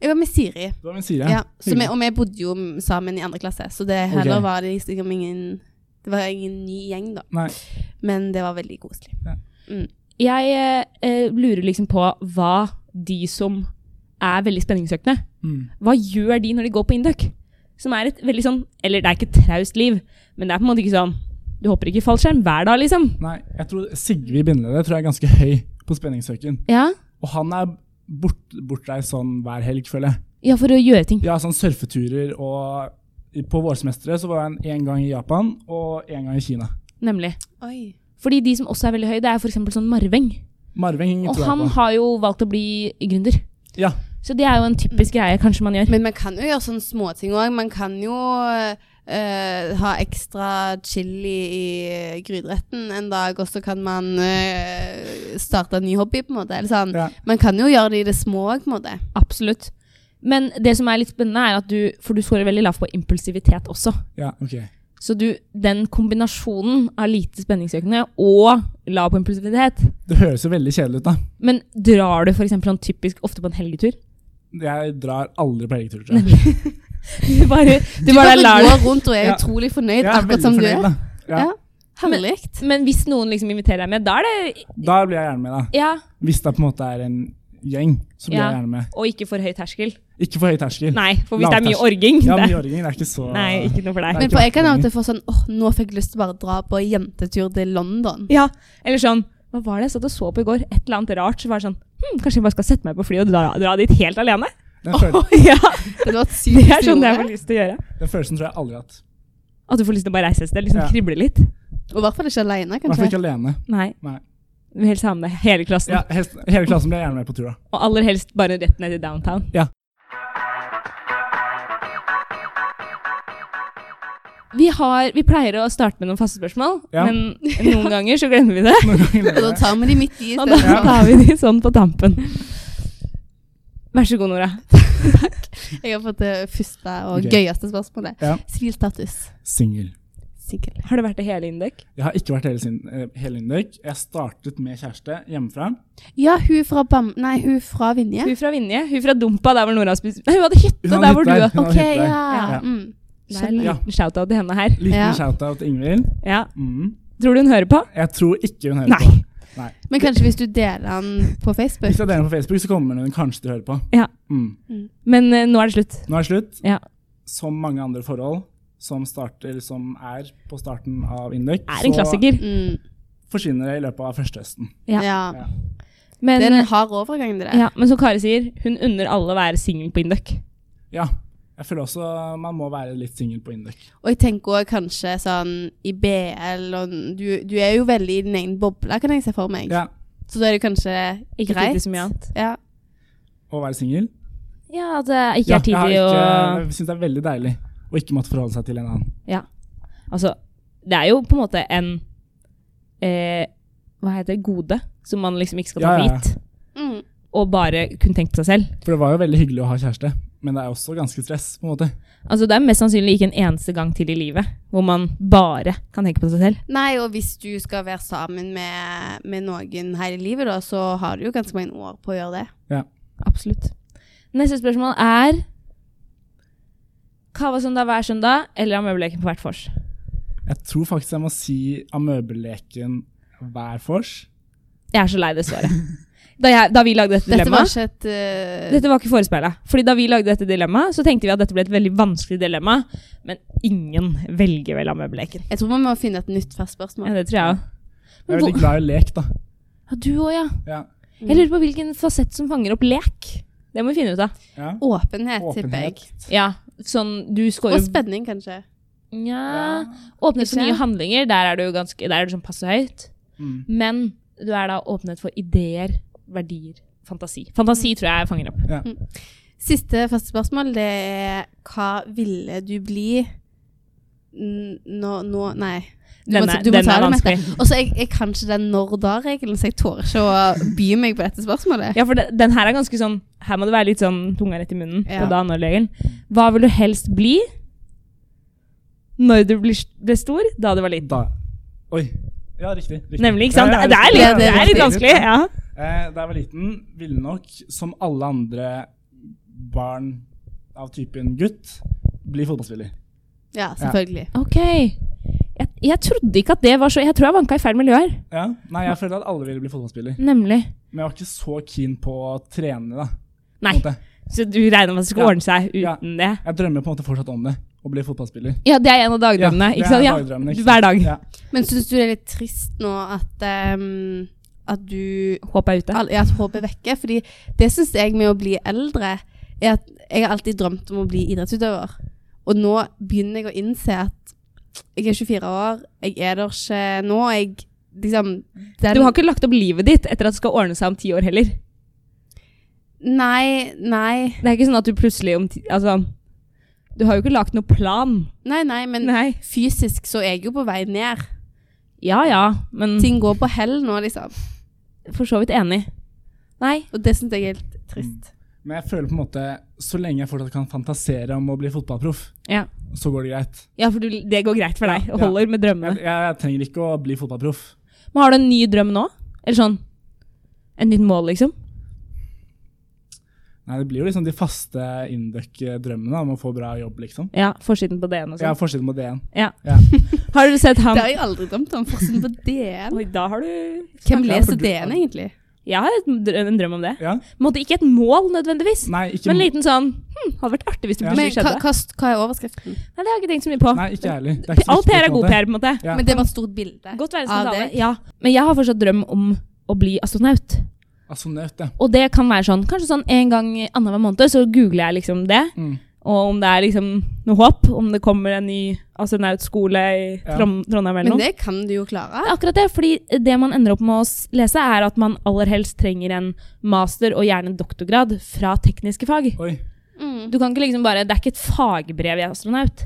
S2: Jeg var med Siri.
S3: Du var med Siri.
S2: Ja. så vi,
S3: hyggelig.
S2: og vi bodde jo sammen i andre klasse, så det heller
S3: Ok.
S2: var det liksom ingen Det var ingen ny gjeng, da.
S3: Nei.
S2: Men det var veldig koselig.
S1: Jeg eh, eh, lurer liksom på hva de som er veldig spenningssøkende,
S3: Mm.
S1: hva gjør de når de går på Induc? Som er et veldig sånn Eller det er ikke et traust liv, men det er på en måte ikke sånn Du hopper ikke i fallskjerm hver dag, liksom.
S3: Nei, jeg tror Sigrid Bindlede tror jeg er ganske høy på spenningssøken.
S1: Ja,
S3: Og han er bort, bortreist sånn hver helg, føler jeg.
S1: ja for å gjøre ting.
S3: Ja, sånn surfeturer og i- På vårsemesteret så var han én gang i Japan og én gang i Kina.
S1: Nemlig.
S2: Oi.
S1: Fordi de som også er veldig høye, det er f.eks. sånn Marveng.
S3: Marving
S1: Og
S3: tror
S1: han
S3: jeg på.
S1: har jo valgt å bli gründer.
S3: Ja,
S1: Så det er jo en typisk greie kanskje man gjør.
S2: Men man kan jo gjøre sånne småting òg. Man kan jo eh, ha ekstra chili i gryteretten en dag, og så kan man eh, starte en ny hobby, på en måte. Eller sånn.
S3: Ja.
S2: Man kan jo gjøre det i det små òg, på en måte.
S1: Absolutt. Men det som er litt spennende, er at du For du scorer veldig lavt på impulsivitet også.
S3: ja, ok.
S1: Så du, den kombinasjonen av lite spenningsøkende og lav på impulsivitet
S3: Det høres jo veldig kjedelig ut, da.
S1: Men drar du for eksempel sånn typisk ofte på en helgetur?
S3: Jeg drar aldri på egentur, tror jeg.
S1: Du bare, du
S2: Du
S1: bare
S2: bare
S1: lar det
S2: går rundt og er
S3: Ja.
S2: utrolig fornøyd,
S3: Jeg
S2: akkurat som du er.
S3: da. Ja,
S2: Ja. Herlig.
S1: Men hvis noen liksom inviterer deg med, da er det
S3: da blir jeg gjerne med, da.
S1: Ja,
S3: Hvis det på en måte er en gjeng, så blir
S1: Ja.
S3: jeg gjerne med.
S1: og ikke for høy terskel.
S3: Ikke for høy terskel.
S1: Nei, for hvis det er mye
S3: Lavterskel.
S1: orging
S3: Ja,
S1: det-
S3: mye orging det er ikke så
S1: Nei, ikke noe for deg.
S2: Men for jeg kan av og til få sånn åh, nå fikk jeg lyst til å bare dra på jentetur til London.
S1: Ja, eller sånn Hva var det jeg satt og så på i går? Et eller annet rart. Så var det sånn hm, Kanskje jeg bare skal sette meg på flyet og dra, dra dit helt
S3: [laughs]
S1: alene?
S3: Den, føl
S1: [laughs] ja,
S2: Det hadde vært
S1: Det
S2: sykt
S1: er sånn jeg
S2: store.
S1: får lyst til å gjøre.
S3: den følelsen tror jeg aldri jeg har hatt.
S1: At du får lyst til å bare reise et sted. Liksom
S3: Ja.
S1: krible litt.
S2: Og i hvert fall ikke aleine,
S3: I hvert fall
S2: kanskje.
S3: ikke alene.
S1: Nei.
S3: Nei.
S1: Du vil helst ha med deg hele klassen.
S3: Ja, helst, hele klassen blir jeg gjerne med på tur, da.
S1: Og aller helst bare rett ned til downtown.
S3: Ja.
S1: Vi, har, vi pleier å starte med noen faste spørsmål,
S3: Ja.
S1: men [laughs] noen ganger så glemmer
S3: [laughs]
S1: vi det.
S3: Noen ganger
S2: [laughs] Og da tar
S3: lever jeg.
S2: vi de midt i
S1: Og da
S2: stedet.
S3: Ja.
S1: tar vi de sånn på tampen. Vær så god, Nora.
S2: Jeg har fått det første og
S3: Ok.
S2: gøyeste spørsmålet.
S3: Ja.
S2: Sivilstatus.
S3: Singel.
S2: Single.
S1: Har du vært i hele Indøk?
S3: Jeg har ikke vært hele, sin, eh, hele Indøk. Jeg startet med kjæreste hjemmefra.
S2: Ja, hun fra Bam... Nei, hun fra Vinje.
S1: Hun fra Vinje. Hun fra Dumpa, der hvor Nora spiste Nei, hun hadde hytte
S3: Hun hadde
S1: der hvor du
S3: hytte
S1: var.
S3: der. Hun
S2: Ok,
S3: hadde hytte der.
S2: ja.
S3: Ja.
S2: Mm.
S1: Det er en
S2: Skjønner.
S3: Ja.
S1: liten shout-out til henne her.
S3: Liten
S2: Ja.
S3: shout-out til Ingvild.
S1: Ja.
S3: Mm.
S1: Tror du hun hører på?
S3: Jeg tror ikke hun hører
S1: Nei.
S3: på.
S2: Men kanskje hvis du deler den på Facebook?
S3: Hvis jeg deler den på Facebook, så kommer hun kanskje til å høre på.
S1: Ja.
S3: Mm.
S1: Men eh, nå er det slutt.
S3: Nå er det slutt.
S1: Ja.
S3: Som mange andre forhold som, starter, som er på starten av Indøk,
S1: Er en klassiker.
S2: Mm.
S3: forsvinner det i løpet av første høsten.
S1: Ja.
S2: Ja.
S3: Ja.
S1: Men,
S2: Det er en hard overgang, det der.
S1: ja, men som Kari sier, hun unner alle å være singel på Induc.
S3: Ja. Jeg føler også man må være litt singel på Indøk.
S2: Og jeg tenker også kanskje sånn i BL og du, du er jo veldig i din egen boble, kan jeg se for meg.
S3: Ja,
S2: Så da er det kanskje
S1: Ikke
S2: greit.
S1: tidlig så mye annet.
S2: Ja.
S3: Å være singel.
S1: Ja, at det ikke er tidlig
S3: jeg
S1: å
S3: har ikke- jeg syns det er veldig deilig å ikke måtte forholde seg til en annen.
S1: Altså, det er jo på en måte en eh, Hva heter det? Gode. Som man liksom ikke skal ta
S3: Ja,
S1: for
S3: ja, ja.
S1: gitt.
S2: Mm.
S1: Og bare kunne tenkt seg selv.
S3: For det var jo veldig hyggelig å ha kjæreste, men det er også ganske stress, på en måte.
S1: Altså, det er mest sannsynlig ikke en eneste gang til i livet hvor man bare kan tenke på seg selv.
S2: Nei, og hvis du skal være sammen med, med noen hele livet, da, så har du jo ganske mange år på å gjøre det.
S1: Absolutt. Neste spørsmål er Kavasøndag hver søndag eller amøbeleken på hvert vors?
S3: Jeg tror faktisk jeg må si amøbeleken hver vors.
S1: Jeg er så lei det svaret. Da, jeg, da vi lagde dette
S2: Dette var
S1: dilemmaet
S2: ikke et eh,
S1: Dette var ikke forespeilet. Fordi da vi lagde dette dilemmaet, så tenkte vi at dette ble et veldig vanskelig dilemma. Men ingen velger vel amøbeleken.
S2: Jeg tror vi må finne et nytt fast spørsmål.
S1: Ja, det tror jeg òg.
S3: Jeg er veldig glad i lek, da.
S1: Ja, du òg, ja.
S3: Ja.
S1: Jeg lurer på hvilken fasett som fanger opp lek. Det må vi finne ut av.
S3: ja.
S2: Åpenhet, tipper jeg.
S3: Åpenhet.
S1: Ja, sånn du
S2: Og
S1: scorer
S2: spenning, kanskje.
S1: Nja
S3: Ja.
S1: Åpnet for
S2: Ikke?
S1: nye handlinger, der er du, ganske, der er du sånn passe høyt.
S3: Mm.
S1: Men du er da åpnet for ideer, verdier, fantasi. Fantasi tror jeg fanger opp.
S2: Siste faste spørsmål, det er hva ville du bli n- nå nå Nei. Du
S1: Den
S2: må,
S1: er-
S2: du må
S1: den
S2: ta
S1: er
S2: det, Mette.
S1: vanskelig.
S2: Og så er jeg, jeg kan ikke den når-da-regelen, så jeg tør ikke å by meg på dette spørsmålet.
S1: Ja, for det, den her er ganske sånn Her må det være litt sånn tunga rett i munnen.
S2: Ja.
S1: På da når-regelen. Hva vil du helst bli når du blir, ble stor? Da du var liten.
S3: Da Oi. Ja, riktig. riktig.
S1: Nemlig, ikke sant?
S3: Ja,
S1: Det,
S3: ja,
S1: det, er,
S3: riktig.
S2: Ja,
S1: litt, det er litt vanskelig. Ja.
S3: Eh, Da jeg var liten, ville nok, som alle andre barn av typen gutt, bli fotballspiller.
S2: Ja, selvfølgelig.
S1: OK. Jeg, jeg trodde ikke at det var så Jeg tror jeg vanka i feil miljø her.
S3: Ja. Nei, jeg følte at alle ville bli fotballspiller.
S1: Nemlig.
S3: Men jeg var ikke så keen på å trene, da. på
S1: Nei.
S3: en måte.
S1: Så du regner med at det skal
S3: Ja.
S1: ordne seg
S3: Ja.
S1: uten det?
S3: Jeg drømmer på en måte fortsatt om det, å bli fotballspiller.
S1: Ja, det er en av dagdrømmene.
S3: det
S1: ikke
S3: er
S1: sant? Ja.
S3: dagdrømmene, ikke
S1: Hver dag.
S3: Ja.
S2: Men syns du det er litt trist nå at, ehm, at du
S1: Håp er ute.
S2: al- ja, at håpet vekker? Fordi det syns jeg med å bli eldre, er at jeg har alltid drømt om å bli idrettsutøver. Og nå begynner jeg å innse at jeg er 24 år, jeg er der ikke nå. Jeg liksom den-
S1: Du har ikke lagt opp livet ditt etter at det skal ordne seg om ti år heller.
S2: Nei, nei.
S1: Det er ikke sånn at du plutselig om ti Altså, du har jo ikke lagt noen plan.
S2: Nei, nei, men
S1: Nei.
S2: fysisk så er jeg jo på vei ned.
S1: Ja ja, men
S2: Ting går på hell nå, liksom.
S1: for så vidt enig. Nei.
S2: Og det syns jeg er helt trist.
S1: Mm.
S3: Men jeg føler på en måte, så lenge jeg fortsatt kan fantasere om å bli fotballproff,
S1: Ja.
S3: så går det greit.
S1: Ja, for du, det går greit for deg.
S3: Ja,
S1: Og
S3: ja.
S1: holder med
S3: Jeg,
S1: drømmene.
S3: jeg trenger ikke å bli fotballproff.
S1: Men har du en ny drøm nå? Eller sånn En nytt mål, liksom?
S3: Nei, det blir jo liksom de faste Indøk-drømmene om å få bra jobb, liksom.
S1: Ja, forsiden på DN og
S3: Jeg
S1: sånn.
S3: har forsiden på DN.
S1: [laughs] Har dere sett han
S2: Det har jeg aldri drømt om. Forskjellen på DN.
S1: Oi, da har du
S2: Hvem
S3: Ja, for
S2: leser
S3: du-
S2: DN, egentlig?
S1: Jeg har et drø- en drøm om det.
S3: Ja.
S1: Måtte ikke et mål, nødvendigvis.
S3: Nei, ikke,
S1: Men en liten sånn hm, Hadde vært artig hvis det
S3: Ja.
S2: Men
S1: plutselig
S2: hva,
S1: skjedde.
S2: hva, hva er overskriften?
S1: Nei, det har jeg ikke tenkt så mye på.
S3: nei, ikke jeg heller. Det ikke så
S1: All
S3: viktig,
S1: PR er
S3: på en
S1: god
S3: måte.
S1: PR, på en måte.
S3: Ja.
S2: Men det var et stort bilde.
S1: Godt være
S2: Av
S1: skandale.
S2: deg?
S1: Ja. Men jeg har fortsatt drøm om å bli astronaut.
S3: Astronaut, ja.
S1: Og det kan være sånn, kanskje sånn en gang annenhver måned, så googler jeg liksom det.
S3: Mm.
S1: Og om det er liksom noe håp, om det kommer en ny astronautskole i
S3: Ja.
S1: Trond Trondheim eller
S2: Men
S1: noe.
S2: det kan du jo klare.
S1: Det er akkurat det, fordi det man ender opp med å s- lese, er at man aller helst trenger en master og gjerne en doktorgrad fra tekniske fag.
S3: Oi.
S2: Mm.
S1: Du kan ikke liksom bare, Det er ikke et fagbrev i astronaut.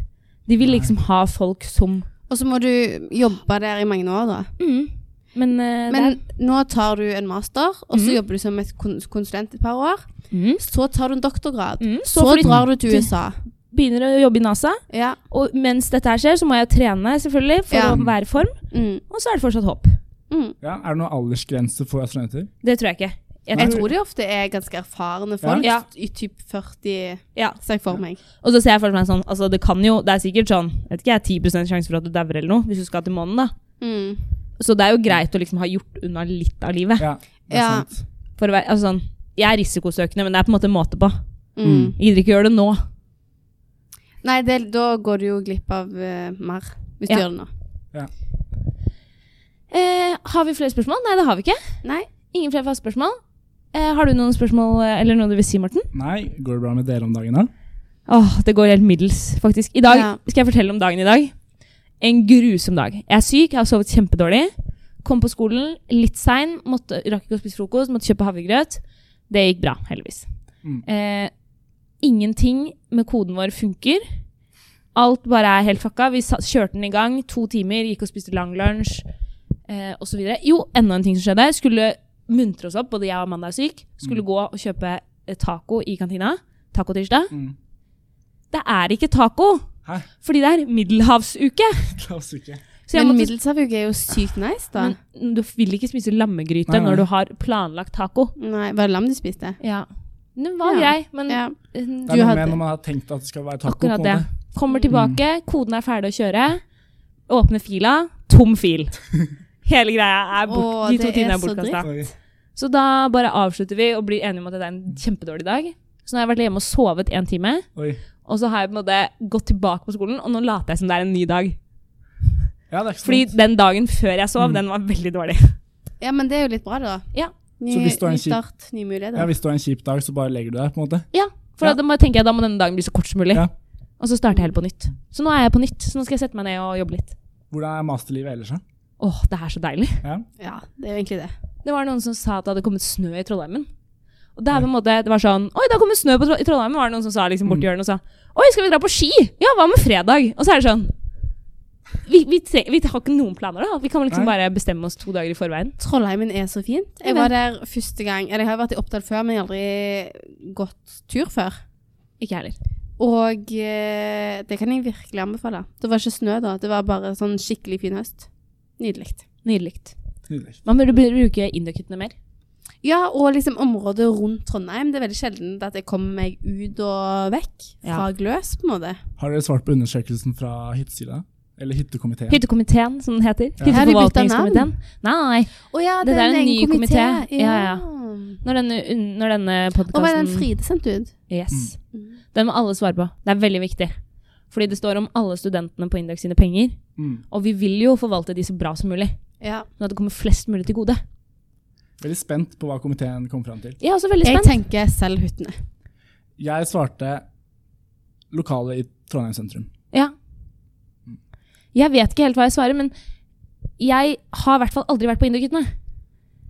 S1: De vil liksom ha folk som
S2: Og så må du jobbe der i mange år, da.
S1: mm, Men, eh, det
S2: Men nå tar du en master, og så
S1: Mhm.
S2: jobber du som et kon- konsulent et par år.
S1: er, mm,
S2: Så tar du en doktorgrad.
S1: Mm, så
S2: Så
S1: flytter-
S2: drar du til USA.
S1: begynner å jobbe i NASA.
S2: Ja.
S1: Og mens dette her skjer, så må jeg trene selvfølgelig for
S2: Ja.
S1: å være i form.
S2: Mm.
S1: Og så er det fortsatt håp.
S2: Mm.
S3: Ja, er det noen aldersgrense for astronauter?
S1: Det tror jeg ikke.
S2: Jeg tror de ofte er ganske erfarne folk.
S1: Ja.
S2: I typ 40,
S1: Ja.
S2: ser jeg for meg.
S1: Og så ser jeg for meg sånn, altså det kan jo, det er sikkert sånn, vet ikke jeg, 10 sjanse for at du dauer eller noe, hvis du skal til månen da.
S2: Mm.
S1: Så det er jo greit å liksom ha gjort unna litt av livet.
S3: Ja, det er
S2: Ja.
S3: sant.
S1: For å være, altså sånn, jeg er risikosøkende, men det er på en måte en måte på.
S2: Mm.
S3: Mm.
S1: Jeg gidder ikke gjøre det nå.
S2: Nei, det, da går du jo glipp av eh, mer, hvis
S1: Ja.
S2: du gjør det nå.
S1: Eh, har vi flere spørsmål? Nei, det har vi ikke.
S2: Nei.
S1: Ingen flere faste spørsmål. Eh, har du noen spørsmål, eh, eller noe du vil si, Morten?
S3: Nei, går det bra med dere om dagen, da?
S1: Åh, det går helt middels, faktisk. I dag
S2: Ja.
S1: skal jeg fortelle om dagen i dag. En grusom dag. Jeg er syk, jeg har sovet kjempedårlig. Kom på skolen litt sein, måtte, rakk ikke å spise frokost, måtte kjøpe havregrøt. Det gikk bra, heldigvis.
S3: Mm.
S1: Eh, ingenting med koden vår funker. Alt bare er helt fucka. Vi sa, kjørte den i gang, to timer, gikk og spiste lang lunsj eh, osv. Jo, enda en ting som skjedde. Skulle muntre oss opp, både jeg og Amanda er syk. Skulle gå og kjøpe eh, taco i kantina. Tacotirsdag.
S3: Mm.
S1: Det er ikke taco.
S3: Hæ? [laughs]
S1: Fordi det er middelhavsuke.
S3: Klass ikke.
S1: Så jeg
S2: Men
S1: måtte-
S2: middelhavsuke er jo sykt nice, da.
S1: Men du vil ikke spise lammegryte
S3: Nei, nei.
S1: når du har planlagt taco.
S2: Nei, var det lam du spiste?
S1: Ja. Den var
S2: Ja.
S1: grei, men eh,
S2: Ja.
S3: Det er
S2: Du
S3: noe
S2: hadde-
S3: med når man har tenkt at det skal være taco.
S1: akkurat
S3: på en
S1: det.
S3: måte. Mm.
S1: Kommer tilbake, koden er ferdig å kjøre. Åpner fila, tom
S3: [laughs]
S1: fil. Hele greia er
S2: Åh,
S1: bort, de to
S2: det
S1: timene
S2: er
S1: er
S2: så
S1: bortkasta.
S3: Sorry.
S1: Så da bare avslutter vi og blir enige om at det er en kjempedårlig dag. Så nå har jeg vært hjemme og sovet en time,
S3: Oi.
S1: og så har jeg på en måte gått tilbake på skolen, og nå later jeg som det er en ny dag.
S3: Ja, det er ikke
S1: Fordi
S3: sant.
S1: den dagen før jeg sov, den var veldig dårlig.
S2: Ja, men det er jo litt bra, da.
S1: Ja.
S2: Ny,
S3: Så hvis du har en
S2: ny
S3: kjip-
S2: start, nye
S3: Ja,
S2: muligheter.
S3: hvis du har en kjip dag, så bare legger du deg, på en måte.
S1: Ja, for
S3: Ja.
S1: Da, må jeg tenke, da må denne dagen bli så kort som mulig.
S3: Ja.
S1: Og så starter jeg helt på nytt. Så nå er jeg på nytt, så nå skal jeg sette meg ned og jobbe litt.
S3: Hvordan er masterlivet ellers, da?
S1: Åh, det er så deilig.
S3: Ja.
S2: Ja, det er jo egentlig det.
S1: Det var noen som sa at det hadde kommet snø i Trollheimen. Og det er på en måte, det var sånn, oi, det har kommet snø på Tro- i Trollheimen, var det noen som sa liksom borti hjørnet og sa, oi, skal vi dra på ski? Ja, hva med fredag? Og så er det sånn, vi, vi, tre, vi har ikke noen planer da. Vi kan liksom
S3: Nei.
S1: bare bestemme oss to dager i forveien.
S2: Trollheimen er så fint. Jeg
S1: Jeg
S2: var der første gang Eller jeg har vært i Oppdal før, men jeg har aldri gått tur før.
S1: Ikke jeg heller.
S2: Og eh, det kan jeg virkelig anbefale. Det var ikke snø da, det var bare sånn skikkelig fin høst. Nydelig.
S1: Nydelig.
S3: Nydelig.
S1: Man burde bruke indokuttene mer.
S2: Ja, og liksom området rundt Trondheim. Det er veldig sjelden at jeg kommer meg ut og vekk fra Gløs, på en måte.
S3: Har dere svart på undersøkelsen fra hyttesida? Eller hyttekomiteen?
S1: Hyttekomiteen, som den heter.
S3: Ja.
S2: Har de byttet navn?
S1: Hytteforvaltningskomiteen. Nei,
S2: Å ja,
S1: Dette er en ny
S2: egen
S1: komité. Ja, ja. sånn-
S2: Og
S1: når denne, når denne podcasten...
S2: hva er den Fride sendt ut?
S1: Yes.
S2: Mm.
S1: Den må alle svare på. Det er veldig viktig. Fordi det står om alle studentene på Index sine penger.
S3: Mm.
S1: Og vi vil jo forvalte de så bra som mulig.
S2: Ja.
S1: Sånn at det kommer flest mulig til gode.
S3: Veldig spent på hva komiteen kom fram til.
S1: Jeg er også veldig
S2: Jeg
S1: spent.
S2: tenker selg hyttene.
S3: Jeg svarte lokale i Trondheim sentrum.
S1: Ja. Jeg vet ikke helt hva jeg svarer, men jeg har i hvert fall aldri vært på Inderguttene.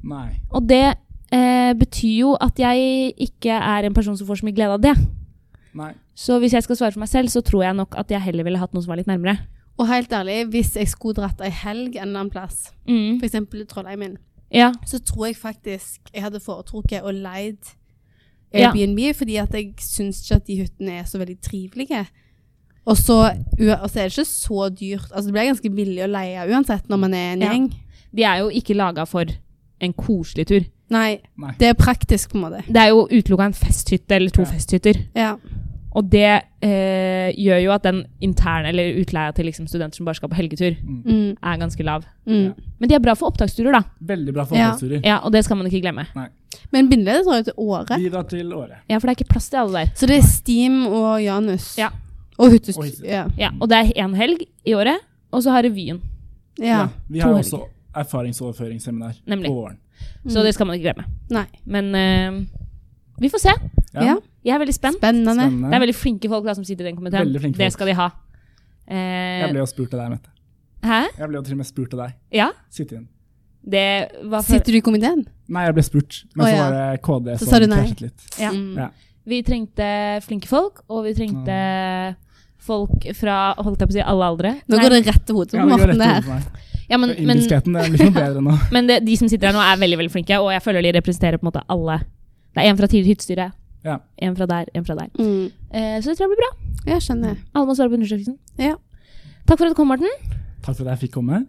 S3: Nei.
S1: Og det eh, betyr jo at jeg ikke er en person som får så mye glede av det.
S3: Nei.
S1: Så hvis jeg skal svare for meg selv, så tror jeg nok at jeg heller ville hatt noe som var litt nærmere.
S2: Og helt ærlig, hvis jeg skulle dratt ei helg en eller annen plass,
S1: Mm.
S2: f.eks. Trollheimen,
S1: Ja.
S2: så tror jeg faktisk jeg hadde foretrukket å leid
S1: Ja.
S2: Airbnb, fordi at jeg syns ikke at de hyttene er så veldig trivelige. Og så u- og så er det ikke så dyrt. Altså, det blir ganske billig å leie uansett når man er en
S1: Ja.
S2: gjeng.
S1: De er jo ikke laga for en koselig tur.
S2: Nei,
S3: Nei.
S2: det er praktisk på en måte.
S1: Det er jo utelukka en festhytte eller to
S3: Ja.
S1: festhytter.
S2: Ja.
S1: Og det eh, gjør jo at den interne eller utleia til liksom, studenter som bare skal på helgetur,
S2: Mm,
S1: er ganske lav.
S2: mm.
S1: Men de er bra for opptaksturer, da.
S3: Veldig bra
S2: Ja.
S3: forholdsstudier.
S1: Ja, Og det skal man ikke glemme.
S2: Men bindeleddet drar jo til Åre.
S3: Vi drar til Åre.
S1: Ja, For det er ikke plass til alle der.
S2: Så det er Steam og Janus.
S1: Ja.
S2: Og Hyttest...
S3: Og hytte.
S2: Ja.
S1: Ja, Og det er én helg i året, og så har revyen.
S2: ja.
S3: Vi har
S1: to
S3: også erfaringsoverføringsseminar
S1: Nemlig.
S3: på våren.
S1: Så det skal man ikke glemme.
S2: Nei.
S1: Men eh, vi får se.
S2: Ja.
S1: Jeg er veldig spent.
S2: Spennende.
S1: Det Sånn er
S3: Spennende.
S1: veldig flinke folk da, som sitter i den komiteen.
S3: Veldig flinke
S1: Det
S3: folk.
S1: skal de ha. Eh,
S3: Jeg ble jo spurt av deg, Mette.
S1: Hæ?
S3: Jeg ble jo til og med spurt av deg.
S1: Ja.
S3: Sitt inn.
S1: Det var for...
S2: Sitter du i komiteen?
S3: Nei, jeg ble spurt, men
S2: Å,
S3: så
S2: ja.
S3: var det KD
S2: Så
S3: som
S2: sa du nei.
S3: krasjet litt.
S1: Ja.
S2: Mm.
S1: Vi trengte flinke folk, og vi trengte folk fra holdt jeg på å si, alle aldre.
S2: Nå går det rett til hodet på
S3: Ja, det går
S2: Morten,
S3: rett
S2: det
S3: over
S2: her.
S3: på meg.
S1: Ja, men,
S3: For
S1: men,
S3: Indiskheten, det blir noe bedre nå.
S1: men det, de som sitter her nå, er veldig veldig flinke, og jeg føler de representerer på en måte alle. Det er en fra tidligere hyttestyre,
S3: Ja.
S1: en fra der, en fra der.
S2: Mm.
S1: Eh, så det tror jeg blir bra.
S2: Jeg skjønner.
S1: Alle må svare på undersøkelsen.
S2: Ja.
S1: Takk for at du kom, Morten.
S3: Takk for at jeg fikk komme.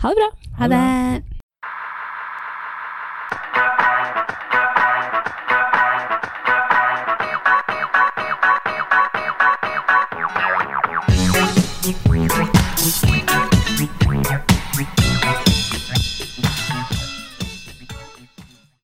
S1: Ha det bra.
S3: Ha det.